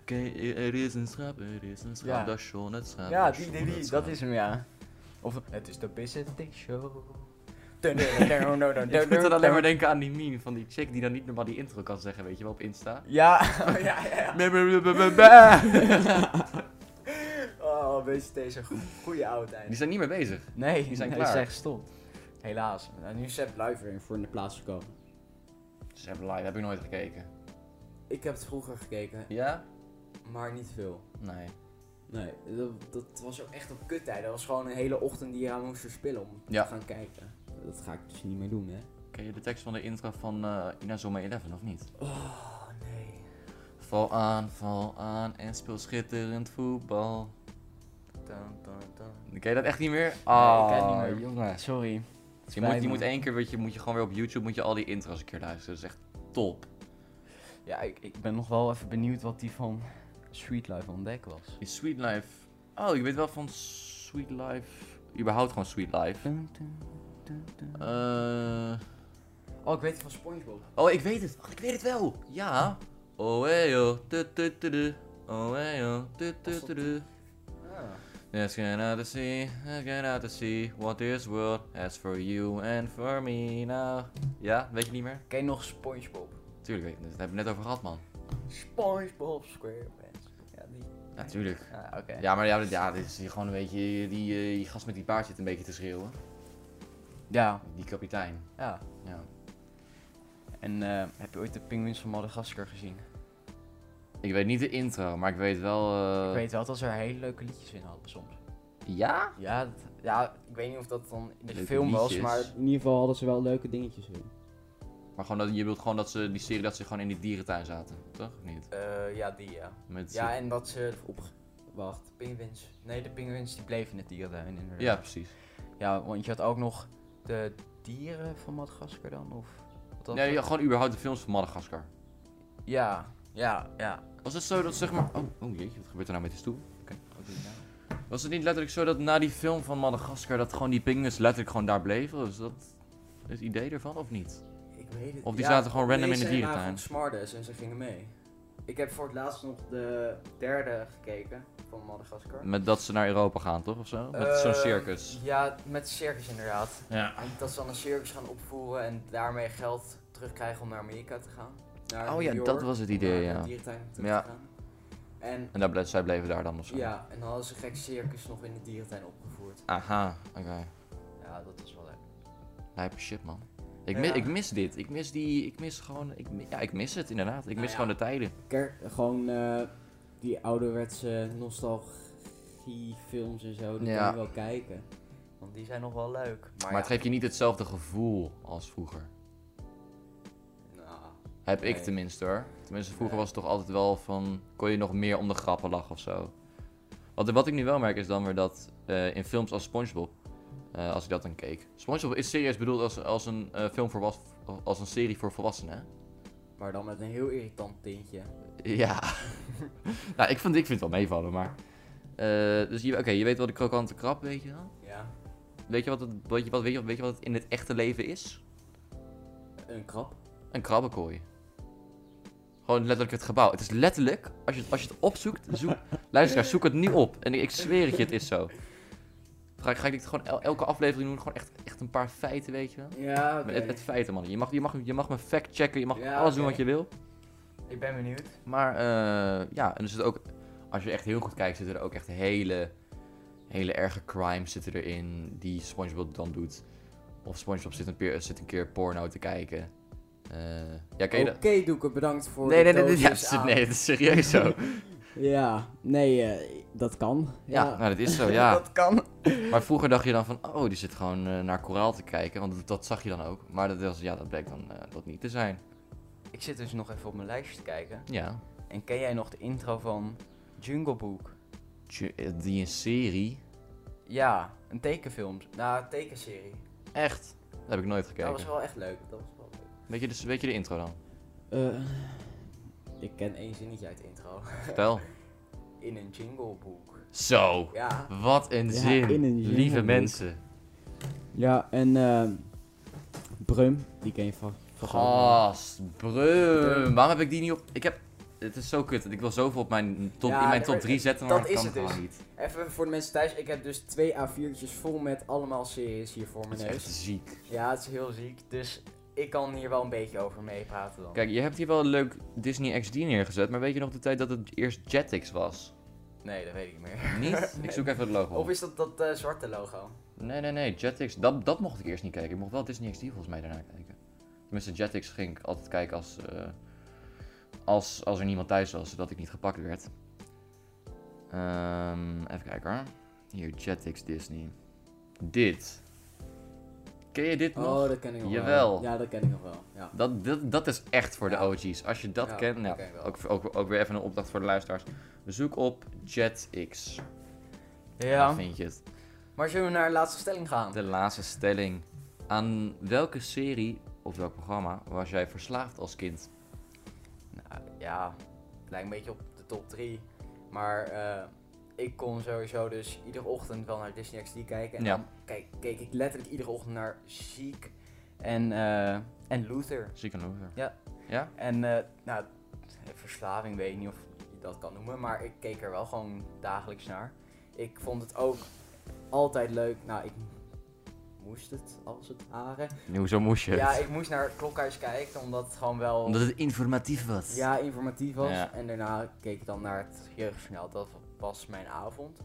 Speaker 1: Oké, er is een schaap, er is een schaap,
Speaker 2: Ja.
Speaker 1: dat is Sean het schaap.
Speaker 2: Ja,
Speaker 1: dat is
Speaker 2: die,
Speaker 1: Sean
Speaker 2: die,
Speaker 1: het
Speaker 2: die, dat
Speaker 1: schaap.
Speaker 2: is hem, ja. Of het is de Business Day Show.
Speaker 1: Ik moet dan alleen maar denken aan die meme van die chick die dan niet normaal die intro kan zeggen, weet je wel, op Insta.
Speaker 2: Ja, ja, ja. ja. Oh, Business Day is een goe- goede
Speaker 1: Die
Speaker 2: oudheid.
Speaker 1: zijn niet meer bezig.
Speaker 2: Nee,
Speaker 1: die zijn
Speaker 2: nee,
Speaker 1: klaar.
Speaker 2: zijn gestopt. Helaas. Nou, nu is Sepp live.
Speaker 4: Luiver voor in de plaats gekomen.
Speaker 1: Ze hebben live, heb ik nooit gekeken.
Speaker 4: Ik heb het vroeger gekeken,
Speaker 1: Ja?
Speaker 4: maar niet veel.
Speaker 1: Nee.
Speaker 4: Nee, dat, dat was ook echt op kuttijd. Dat was gewoon een hele ochtend die je aan moest verspillen om
Speaker 1: Ja.
Speaker 4: te gaan kijken. Dat ga ik dus niet meer doen, hè.
Speaker 1: Ken je de tekst van de intro van eh Inazuma 11 of niet?
Speaker 4: Oh, nee.
Speaker 1: Val aan, val aan en speel schitterend voetbal.
Speaker 2: Dun, dun, dun.
Speaker 1: Ken je dat echt niet meer?
Speaker 2: ik ken het
Speaker 1: Ah,
Speaker 2: niet meer.
Speaker 1: jongens.
Speaker 2: Sorry.
Speaker 1: Je moet,
Speaker 2: Spijt
Speaker 1: je
Speaker 2: me.
Speaker 1: moet één keer, weet je, moet je gewoon weer op YouTube moet je al die intro's een keer luisteren. Dat is echt top.
Speaker 2: Ja, ik, ik ben nog wel even benieuwd wat die van Sweet Life ontdekken was.
Speaker 1: Is Sweet Life... Oh, je weet wel van Sweet Life... Überhaupt gewoon Sweet Life. Eh,
Speaker 4: Oh, ik weet het van Spongebob.
Speaker 1: Oh, ik weet het. Wacht, ik weet het wel. Ja. Oh, hey, yo. Tu, tu, tu, du. Oh, hey, yo. Tu, tu, tu, du.
Speaker 2: Ah.
Speaker 1: Let's get out to sea, let's get out to sea what this world has for you and for me now. Ja, weet je niet meer?
Speaker 2: Ken je nog Spongebob?
Speaker 1: Tuurlijk weet ik het. Daar hebben we het net over gehad, man.
Speaker 2: Spongebob SquarePants. Ja, die.
Speaker 1: Natuurlijk.
Speaker 2: Ah, oké.
Speaker 1: Ja, maar ja, dit- ja, dit is hier gewoon een beetje. Die, eh, die gast met die paard zit een beetje te schreeuwen.
Speaker 2: Ja,
Speaker 1: Die kapitein.
Speaker 2: ja.
Speaker 1: Ja.
Speaker 2: En eh, heb je ooit de Penguins van Madagaskar gezien?
Speaker 1: Eh. Ik weet niet de intro, maar ik weet wel. eh,
Speaker 2: Ik weet wel dat ze er hele leuke liedjes in hadden soms.
Speaker 1: Ja?
Speaker 2: Ja, dat- ja ik weet niet of dat dan in de
Speaker 1: Leuke
Speaker 2: film was,
Speaker 1: liedjes.
Speaker 2: maar...
Speaker 4: In ieder geval hadden ze wel leuke dingetjes in.
Speaker 1: Maar gewoon dat, je wilt gewoon dat ze die serie dat ze gewoon in die dierentuin zaten, toch? Of niet?
Speaker 2: eh, ja, die ja.
Speaker 1: Met,
Speaker 2: Ja, en dat ze...
Speaker 4: Op... Wacht.
Speaker 2: De Penguins. Nee, de Penguins die bleven in het dierentuin inderdaad.
Speaker 1: ja, precies.
Speaker 2: Ja, want je had ook nog de dieren van Madagaskar dan, of... Wat was
Speaker 1: Nee,
Speaker 2: het?
Speaker 1: ja, gewoon überhaupt de films van Madagaskar.
Speaker 2: ja, ja, ja.
Speaker 1: Was het zo dat zeg maar. Oh, oh jeetje, wat gebeurt er nou met die stoel?
Speaker 2: Wat doe je nou?
Speaker 1: Was het niet letterlijk zo dat na die film van Madagaskar dat gewoon die pinguïns letterlijk gewoon daar bleven? Was dat het idee ervan of niet?
Speaker 4: Ik weet het
Speaker 1: Of die zaten gewoon random in de
Speaker 4: Nee, ze waren
Speaker 1: dierentuin?
Speaker 4: gewoon smartes en ze gingen mee.
Speaker 2: Ik heb voor het laatst nog de derde gekeken van Madagaskar.
Speaker 1: Met dat ze naar Europa gaan, toch? Of zo? Met zo'n
Speaker 2: Eh,
Speaker 1: circus.
Speaker 2: Ja, met circus inderdaad.
Speaker 1: Ja.
Speaker 2: Dat ze dan een circus gaan opvoeren en daarmee geld terugkrijgen om naar Amerika te gaan.
Speaker 4: Naar
Speaker 1: Oh
Speaker 4: New
Speaker 1: ja,
Speaker 4: York,
Speaker 1: dat was het
Speaker 4: om
Speaker 1: idee,
Speaker 4: naar de
Speaker 1: ja.
Speaker 4: dierentuin terug
Speaker 1: Ja.
Speaker 4: te gaan. En
Speaker 1: En daar ble- zij bleven daar dan of zo?
Speaker 4: ja, en dan hadden ze een gek circus nog in de dierentuin opgevoerd.
Speaker 1: Aha, oké.
Speaker 2: Ja, dat is wel leuk.
Speaker 1: Lijpe shit, man. Ik, mi-
Speaker 4: Ja.
Speaker 1: ik mis dit. Ik mis die... Ik mis gewoon... Ik, mi- ja, ik mis het inderdaad. Ik
Speaker 4: Nou
Speaker 1: mis
Speaker 4: ja.
Speaker 1: gewoon de tijden.
Speaker 4: Ker, gewoon eh, die ouderwetse nostalgiefilms en zo, die
Speaker 1: Ja.
Speaker 4: kan je wel kijken.
Speaker 2: Want die zijn nog wel leuk. Maar,
Speaker 1: Maar
Speaker 2: ja,
Speaker 1: het geeft je niet hetzelfde gevoel als vroeger.
Speaker 4: Nou,
Speaker 1: Heb ik
Speaker 4: Nee.
Speaker 1: tenminste hoor. Tenminste, vroeger
Speaker 4: Nee.
Speaker 1: was het toch altijd wel van. kon je nog meer om de grappen lachen of zo. Wat, wat ik nu wel merk is dan weer dat eh, in films als SpongeBob. eh, als ik dat dan keek. SpongeBob is serieus bedoeld als, als een eh, film voor was, als een serie voor volwassenen. hè?
Speaker 4: maar dan met een heel irritant tintje.
Speaker 1: Ja. nou, ik vind, ik vind het wel meevallen, maar. eh, dus je- oké, je weet wel de krokante krab, weet je wel?
Speaker 4: Ja,
Speaker 1: Weet je wat het, weet je wat, weet je, weet je wat het in het echte leven is?
Speaker 4: een krab.
Speaker 1: Een krabbenkooi. Gewoon letterlijk het gebouw. Het is letterlijk, als je het, als je het opzoekt, zoek, luisteraar, zoek het nu op. En ik, ik zweer het je, het is zo. Ga, ik- ga ik dit gewoon el- elke aflevering doen, gewoon echt, echt een paar feiten, weet je wel.
Speaker 4: Ja,
Speaker 1: Het, het feiten, man. Je mag, je, mag, je mag me fact-checken, je mag
Speaker 4: Ja,
Speaker 1: alles doen
Speaker 4: oké.
Speaker 1: wat je wil.
Speaker 2: Ik ben benieuwd.
Speaker 1: Maar eh, ja, en er zit ook, als je echt heel goed kijkt, zitten er ook echt hele, hele erge crimes zitten erin die SpongeBob dan doet. Of SpongeBob zit een keer, zit een keer porno te kijken. Eh, ja, ken je
Speaker 4: Oké,
Speaker 1: dat?
Speaker 4: Doeken, bedankt voor
Speaker 1: Nee,
Speaker 4: de
Speaker 1: nee, nee, nee, ja,
Speaker 4: doosjes
Speaker 1: nee,
Speaker 4: aan.
Speaker 1: het is serieus zo.
Speaker 4: Ja, nee, eh, dat kan.
Speaker 1: Ja,
Speaker 4: Ja,
Speaker 1: nou, dat is zo, ja.
Speaker 2: Dat kan.
Speaker 1: Maar vroeger dacht je dan van, oh, die zit gewoon eh, naar koraal te kijken, want dat, dat zag je dan ook. Maar dat, was, ja, dat bleek dan eh, dat niet te zijn.
Speaker 2: Ik zit dus nog even op mijn lijstje te kijken.
Speaker 1: Ja,
Speaker 2: En ken jij nog de intro van Jungle Book?
Speaker 1: Tje, eh, die een serie,
Speaker 2: Ja, een tekenfilm. Nou, een tekenserie.
Speaker 1: echt, dat heb ik nooit
Speaker 2: Dat
Speaker 1: gekeken.
Speaker 2: was wel echt leuk. Dat was wel leuk.
Speaker 1: weet, je, de- weet je de intro dan?
Speaker 4: Eh,
Speaker 2: Ik ken één zinnetje uit de intro.
Speaker 1: Vertel.
Speaker 2: In een Jungle Book.
Speaker 1: Zo,
Speaker 2: Ja.
Speaker 1: wat een
Speaker 4: Ja,
Speaker 1: zin,
Speaker 4: in een
Speaker 1: lieve
Speaker 4: jungle.
Speaker 1: mensen.
Speaker 4: ja en ehm Brum, die ken je van. van
Speaker 1: Gast, brum, waarom heb ik die niet op... Ik heb, het is zo kut, want ik wil zoveel op mijn top,
Speaker 4: Ja,
Speaker 1: in mijn
Speaker 4: nee,
Speaker 1: top
Speaker 4: maar
Speaker 1: 3 zetten, maar
Speaker 2: dat
Speaker 1: dat
Speaker 2: is
Speaker 1: kan
Speaker 2: het
Speaker 1: gewoon
Speaker 2: dus.
Speaker 1: niet.
Speaker 4: Even voor de mensen thuis, ik heb dus twee A4'tjes vol met allemaal series hier voor
Speaker 1: Het
Speaker 4: mijn
Speaker 1: is echt
Speaker 4: neus.
Speaker 1: ziek.
Speaker 2: Ja, het is heel ziek. Dus ik kan hier wel een beetje over meepraten dan.
Speaker 1: Kijk, je hebt hier wel een leuk Disney XD neergezet, maar weet je nog de tijd dat het eerst Jetix was?
Speaker 2: Nee, dat weet ik niet meer.
Speaker 1: Niet? Ik zoek even het logo.
Speaker 2: Of is dat dat eh, zwarte logo?
Speaker 1: Nee, nee, nee, Jetix, dat, dat mocht ik eerst niet kijken. Ik mocht wel Disney XD volgens mij daarna kijken. Tenminste, Jetix ging ik altijd kijken als, eh, als, als er niemand thuis was, zodat ik niet gepakt werd. Ehm, even kijken hoor. Hier, Jetix Disney. Dit. Ken je dit nog?
Speaker 4: Oh, dat ken ik nog
Speaker 1: Jawel.
Speaker 4: wel. Ja, dat ken ik nog wel. Ja.
Speaker 1: Dat, dat, dat is echt voor
Speaker 4: Ja.
Speaker 1: de OG's. Als je dat
Speaker 4: Ja,
Speaker 1: kent, nou,
Speaker 4: oké, wel.
Speaker 1: ook, ook, ook weer even een opdracht voor de luisteraars. Zoek op JetX. Dan
Speaker 2: Ja.
Speaker 1: vind je het.
Speaker 2: Maar zullen we naar de laatste stelling gaan?
Speaker 1: De laatste stelling. Aan welke serie of welk programma was jij verslaafd als kind?
Speaker 2: Nou, ja, het lijkt een beetje op de top 3. Maar eh, ik kon sowieso dus iedere ochtend wel naar Disney XD kijken. En
Speaker 1: Ja.
Speaker 2: dan kijk, keek ik letterlijk iedere ochtend naar Ziek en, eh, en Luther.
Speaker 1: Ziek en Loser.
Speaker 2: Ja.
Speaker 1: Ja?
Speaker 2: En eh, nou, verslaving weet ik niet of je dat kan noemen, maar ik keek er wel gewoon dagelijks naar. Ik vond het ook altijd leuk. Nou, ik moest het als het haren.
Speaker 1: Hoezo moest je
Speaker 2: Ja,
Speaker 1: het?
Speaker 2: ik moest naar het klokhuis kijken, omdat het gewoon wel...
Speaker 1: Omdat het informatief was.
Speaker 2: Ja, informatief was.
Speaker 1: Ja.
Speaker 2: En daarna keek ik dan naar het jeugdjournaal. Dat was mijn avond.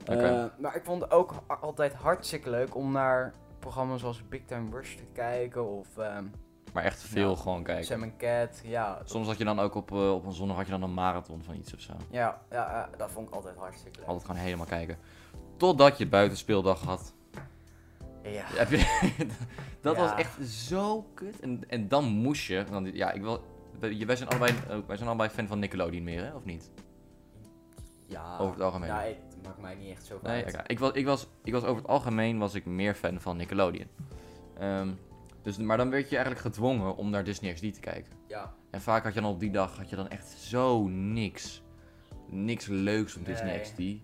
Speaker 1: Oké.
Speaker 2: Eh, maar ik vond het ook a- altijd hartstikke leuk om naar programma's zoals Big Time Rush te kijken. Of ehm,
Speaker 1: Maar echt veel
Speaker 2: Ja.
Speaker 1: gewoon kijken.
Speaker 2: Sam and Cat. Ja,
Speaker 1: Soms had je dan ook op, eh, op een zondag had je dan een marathon van iets of zo.
Speaker 2: ja, ja eh, dat vond ik altijd hartstikke leuk.
Speaker 1: Altijd gewoon helemaal kijken. Totdat je buitenspeeldag had.
Speaker 2: Ja.
Speaker 1: Heb je- dat
Speaker 2: Ja.
Speaker 1: was echt zo kut. En, en dan moest je. Want ja, ik wil. Wij wij zijn, allebei, eh, wij zijn allebei fan van Nickelodeon meer, hè? Of niet?
Speaker 2: ja.
Speaker 1: Over het algemeen.
Speaker 2: Nou, ik- het maakt mij niet echt zo
Speaker 1: Nee,
Speaker 2: uit.
Speaker 1: oké. Ah, ik, was, ik, was, ik was over het algemeen was ik meer fan van Nickelodeon. Ehm, dus, maar dan werd je eigenlijk gedwongen om naar Disney XD te kijken.
Speaker 2: Ja.
Speaker 1: En vaak had je dan op die dag had je dan echt zo niks. Niks leuks op Disney
Speaker 2: Nee.
Speaker 1: XD.
Speaker 2: Nee.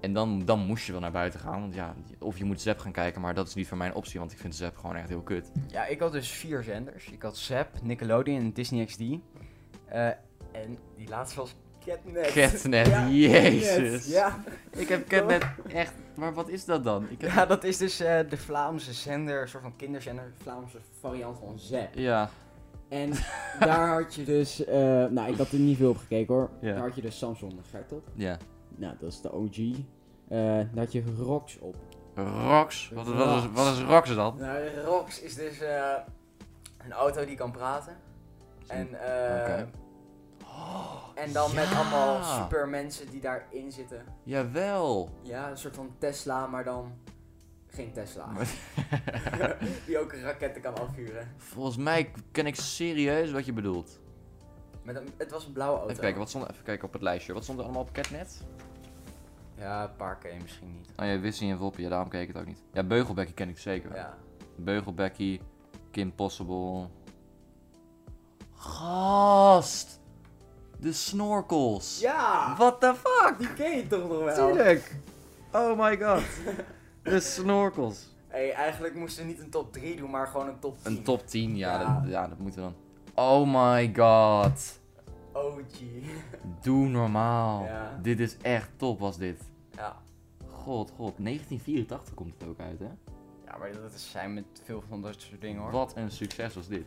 Speaker 1: En dan, dan moest je wel naar buiten gaan. Want ja, of je moet Zep gaan kijken, maar dat is niet voor mijn optie. Want ik vind Zep gewoon echt heel kut.
Speaker 2: Ja, ik had dus vier zenders. Ik had Zep, Nickelodeon en Disney XD. Eh, en die laatste was Catnet.
Speaker 1: Catnet,
Speaker 2: Ja,
Speaker 1: jezus.
Speaker 4: Ja,
Speaker 1: Ik heb Catnet echt... Maar wat is dat dan? Ik heb...
Speaker 2: Ja, dat is dus eh, de Vlaamse zender, een soort van kinderzender.
Speaker 4: Vlaamse variant van Zep.
Speaker 1: Ja,
Speaker 4: En daar had je dus, eh, nou ik had er niet veel op gekeken hoor.
Speaker 1: Ja.
Speaker 4: Daar had je dus Samson en Gert op.
Speaker 1: ja.
Speaker 4: Nou, dat is de OG. Eh, daar had je Rox op.
Speaker 1: Rox. Wat, wat, is, wat is Rox dan?
Speaker 2: Nou, de Rox is dus eh, een auto die kan praten. En, eh,
Speaker 1: Oké. Oh,
Speaker 2: en dan met
Speaker 1: ja.
Speaker 2: allemaal supermensen die daarin zitten.
Speaker 1: Jawel.
Speaker 2: Ja, een soort van Tesla, maar dan geen Tesla.
Speaker 1: Maar-
Speaker 2: die ook raketten kan afvuren.
Speaker 1: Volgens mij ken ik serieus wat eh? je bedoelt.
Speaker 2: Met een, het was een blauwe auto.
Speaker 1: Even kijken, wat stond, even kijken op het lijstje. Wat stond er allemaal op Catnet?
Speaker 2: Ja, een paar keer misschien niet.
Speaker 1: Oh ja, Wissie en Woppie. Ja, daarom keek ik het ook niet. Ja, Beugelbekkie ken ik zeker wel.
Speaker 2: Ja.
Speaker 1: Beugelbekkie, Kim Possible. Gast! De snorkels!
Speaker 4: Ja!
Speaker 1: What the fuck?
Speaker 4: Die ken je toch nog wel?
Speaker 1: Tuurlijk! Oh my god. De snorkels.
Speaker 2: Hey, eigenlijk moesten we niet een top 3 doen, maar gewoon een top 10.
Speaker 1: Een top 10, ja,
Speaker 2: Ja.
Speaker 1: Dat, ja, dat moeten we dan. Oh my god.
Speaker 2: OG.
Speaker 1: Doe normaal.
Speaker 2: Ja.
Speaker 1: Dit is echt top, was dit.
Speaker 2: Ja.
Speaker 1: God, god. 1984 komt het ook uit, hè?
Speaker 2: ja, maar dat is zijn met veel van dat soort dingen hoor.
Speaker 1: Wat een succes was dit.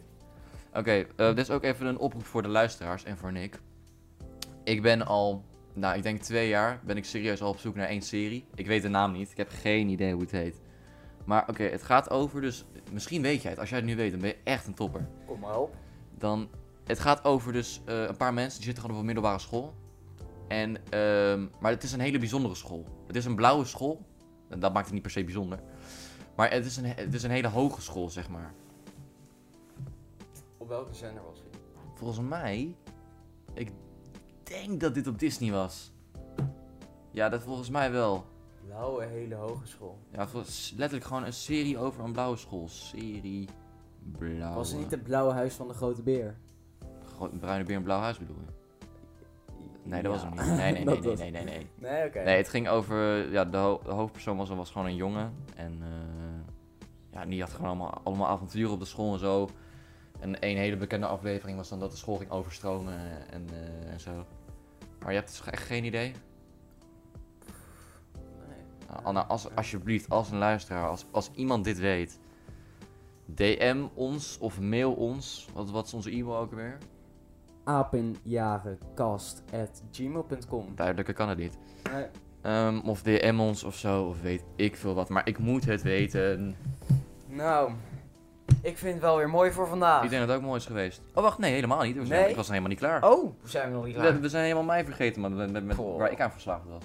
Speaker 1: Oké, eh, dit is ook even een oproep voor de luisteraars en voor Nick. Ik ben al, nou ik denk twee jaar, ben ik serieus al op zoek naar één serie. Ik weet de naam niet, ik heb geen idee hoe het heet. Maar oké, het gaat over dus, misschien weet jij het, als jij het nu weet dan ben je echt een topper.
Speaker 2: Kom maar op.
Speaker 1: Dan, het gaat over dus eh, een paar mensen die zitten gewoon op een middelbare school. En, ehm, maar het is een hele bijzondere school. Het is een blauwe school. En dat maakt het niet per se bijzonder. Maar het is een, het is een hele hoge school, zeg maar.
Speaker 2: Op welke zender was het?
Speaker 1: Volgens mij. Ik denk dat dit op Disney was. Ja, dat volgens mij wel.
Speaker 2: Blauwe Nou, hele hogeschool.
Speaker 1: Ja, het was letterlijk gewoon een serie over een blauwe school. Serie. Blauwe.
Speaker 4: Was het niet het blauwe huis van de grote beer?
Speaker 1: Gro- bruine beer en blauw huis bedoel je? Nee, dat was
Speaker 4: Ja.
Speaker 1: hem niet. Nee, nee, nee,
Speaker 4: Dat
Speaker 1: nee,
Speaker 4: was-
Speaker 1: nee, nee, nee.
Speaker 2: Nee, oké.
Speaker 1: Nee, het ging over. Ja, de, ho- de hoofdpersoon was, was gewoon een jongen. En. eh, ja, die had gewoon allemaal, allemaal avonturen op de school en zo. En één hele bekende aflevering was dan dat de school ging overstromen en, eh, en zo. Maar je hebt dus echt geen idee?
Speaker 2: Nee.
Speaker 1: Nou, Anna, als, alsjeblieft, als een luisteraar, als, als iemand dit weet, DM ons of mail ons. Wat, wat is onze e-mail ook weer?
Speaker 4: Apenjarenkast.
Speaker 2: At gmail.com.
Speaker 1: Duidelijker kan het niet.
Speaker 2: Nee.
Speaker 1: Ehm, of DM ons of zo, of weet ik veel wat. Maar ik moet het weten.
Speaker 2: Nou, ik vind het wel weer mooi voor vandaag.
Speaker 1: Ik denk dat het ook mooi is geweest. Oh, wacht, nee, helemaal niet. Ik was,
Speaker 2: Ah. Nee?
Speaker 1: ik was helemaal niet klaar.
Speaker 2: Oh, zijn we nog niet
Speaker 1: we,
Speaker 2: klaar?
Speaker 1: we zijn helemaal mij vergeten, maar met, met, met-
Speaker 2: Goh.
Speaker 1: waar ik aan verslaafd was.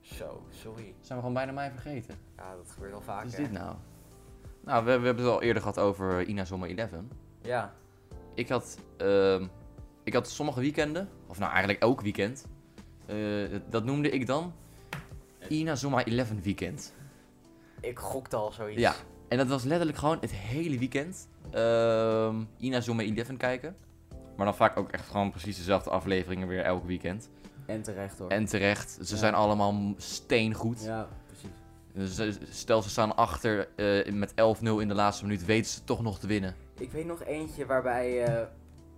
Speaker 2: Zo, sorry.
Speaker 1: Zijn we gewoon bijna mij vergeten.
Speaker 2: Ja, dat gebeurt al
Speaker 1: Wat
Speaker 2: vaker.
Speaker 1: is dit nou? Nou, we, we hebben het al eerder gehad over Ina Zomer 11.
Speaker 2: Ja.
Speaker 1: Ik had, ehm, ik had sommige weekenden, of nou eigenlijk elk weekend, eh, dat noemde ik dan Ina Zomaar 11 weekend.
Speaker 2: Ik gokte al zoiets.
Speaker 1: Ja, en dat was letterlijk gewoon het hele weekend ehm, Ina Zomaar 11 kijken. Maar dan vaak ook echt gewoon precies dezelfde afleveringen weer elk weekend.
Speaker 4: En terecht hoor.
Speaker 1: En terecht, ze
Speaker 4: Ja.
Speaker 1: zijn allemaal m- steengoed.
Speaker 4: Ja, precies.
Speaker 1: Dus, eh, stel ze staan achter eh, met 11-0 in de laatste minuut, weten ze toch nog te winnen.
Speaker 2: Ik weet nog eentje waarbij eh,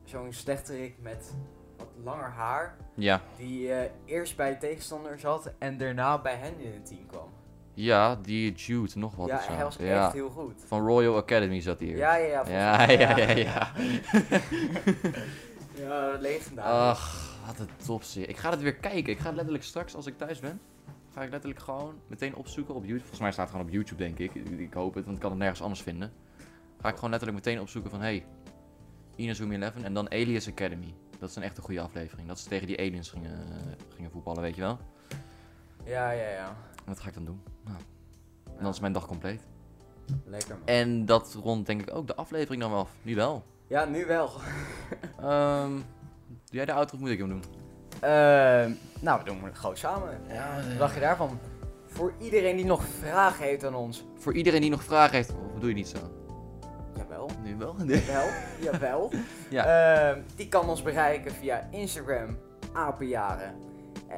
Speaker 2: zo'n slechterik met wat langer haar,
Speaker 1: Ja,
Speaker 2: die eh, eerst bij de tegenstander zat en daarna bij hen in het team kwam.
Speaker 1: ja die Jude, nog wat
Speaker 2: ja,
Speaker 1: of zo.
Speaker 2: hij was
Speaker 1: ja.
Speaker 2: echt heel goed.
Speaker 1: Van Royal Academy zat hij hier.
Speaker 2: Ja, ja, ja. volgens
Speaker 1: Ja,
Speaker 2: mij,
Speaker 1: ja, ja, ja.
Speaker 2: Ja,
Speaker 1: Nou,
Speaker 2: legendarisch.
Speaker 1: Ach, wat een topserie. Ik ga het weer kijken. Ik ga het letterlijk straks, als ik thuis ben, ga ik letterlijk gewoon meteen opzoeken op YouTube. Volgens mij staat het gewoon op YouTube, denk ik. Ik ik hoop het, want ik kan het nergens anders vinden. Ga ik gewoon letterlijk meteen opzoeken van, hey, Inazumi 11 en dan Alias Academy. Dat is een echt een goede aflevering. Dat ze tegen die aliens gingen, eh, gingen voetballen, weet je wel.
Speaker 2: Ja, ja, ja.
Speaker 1: En dat ga ik dan doen. Nou, en dan is mijn dag compleet.
Speaker 4: Lekker man.
Speaker 1: En dat rond denk ik ook de aflevering dan wel af. Nu wel.
Speaker 2: Ja, nu wel.
Speaker 1: Ehm, doe jij de outro of moet ik hem doen?
Speaker 2: Ehm, nou, we doen het gewoon samen.
Speaker 1: Ja,
Speaker 2: Wat dacht je daarvan? Voor iedereen die nog vragen heeft aan ons.
Speaker 1: Voor iedereen die nog vragen heeft, of bedoel je niet zo?
Speaker 2: Jawel.
Speaker 1: Nu wel?
Speaker 2: Wel, jawel.
Speaker 1: Ja.
Speaker 2: Ehm, die kan ons bereiken via Instagram, apenjaren.
Speaker 4: Eh,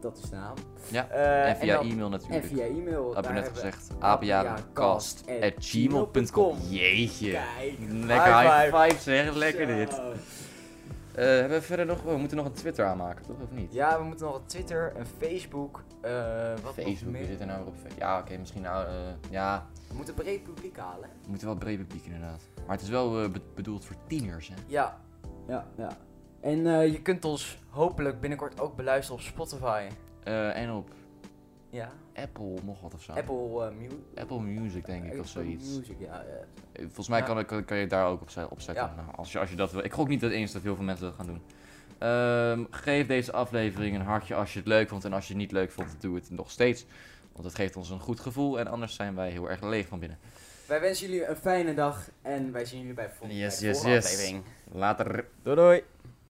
Speaker 4: dat is de naam.
Speaker 1: Ja,
Speaker 4: Eh,
Speaker 1: en via
Speaker 4: dan-
Speaker 1: e-mail
Speaker 4: En
Speaker 1: natuurlijk.
Speaker 4: via e-mail.
Speaker 1: Dat heb
Speaker 4: daar
Speaker 1: ik net
Speaker 4: hebben we-
Speaker 1: gezegd.
Speaker 4: apiacast@gmail.com.
Speaker 1: apiacast.gmail.com. Jeetje.
Speaker 4: Kijk.
Speaker 1: Lekker high
Speaker 2: High
Speaker 1: five,
Speaker 2: five.
Speaker 1: zeg. Lekker
Speaker 4: Zo.
Speaker 1: dit. Eh, hebben we verder nog... We moeten nog een Twitter aanmaken, toch? Of niet?
Speaker 2: Ja, we moeten nog een Twitter, een Facebook. eh, wat nog
Speaker 1: Facebook,
Speaker 2: meer?
Speaker 1: wie zit er nou weer op Facebook? Ja, oké, misschien nou... eh, ja,
Speaker 4: We moeten breed publiek halen. hè?
Speaker 1: we moeten wel breed publiek inderdaad. Maar het is wel eh, be- bedoeld voor tieners, hè?
Speaker 2: Ja,
Speaker 4: Ja, ja. En eh,
Speaker 2: je kunt ons hopelijk binnenkort ook beluisteren op Spotify.
Speaker 1: Eh, en op
Speaker 2: Ja,
Speaker 1: Apple nog wat of zo.
Speaker 4: Apple eh, Mu-
Speaker 1: Apple Music, denk ik,
Speaker 4: Apple
Speaker 1: of zoiets.
Speaker 4: Music, ja. ja.
Speaker 1: Eh, Volgens mij
Speaker 2: Ja.
Speaker 1: kan, kan, kan je het daar ook op, ze- op zetten.
Speaker 2: Ja.
Speaker 1: Nou, als, je, als je dat wil. Ik gok niet dat eens dat heel veel mensen dat gaan doen. Ehm, geef deze aflevering een hartje als je het leuk vond. En als je het niet leuk vond, doe het nog steeds. Want het geeft ons een goed gevoel. En anders zijn wij heel erg leeg van binnen.
Speaker 4: Wij wensen jullie een fijne dag en wij zien julbij, vol-
Speaker 1: Yes,
Speaker 4: bij de
Speaker 1: yes,
Speaker 4: volgende
Speaker 1: yes.
Speaker 4: aflevering.
Speaker 1: Later.
Speaker 2: doei doei.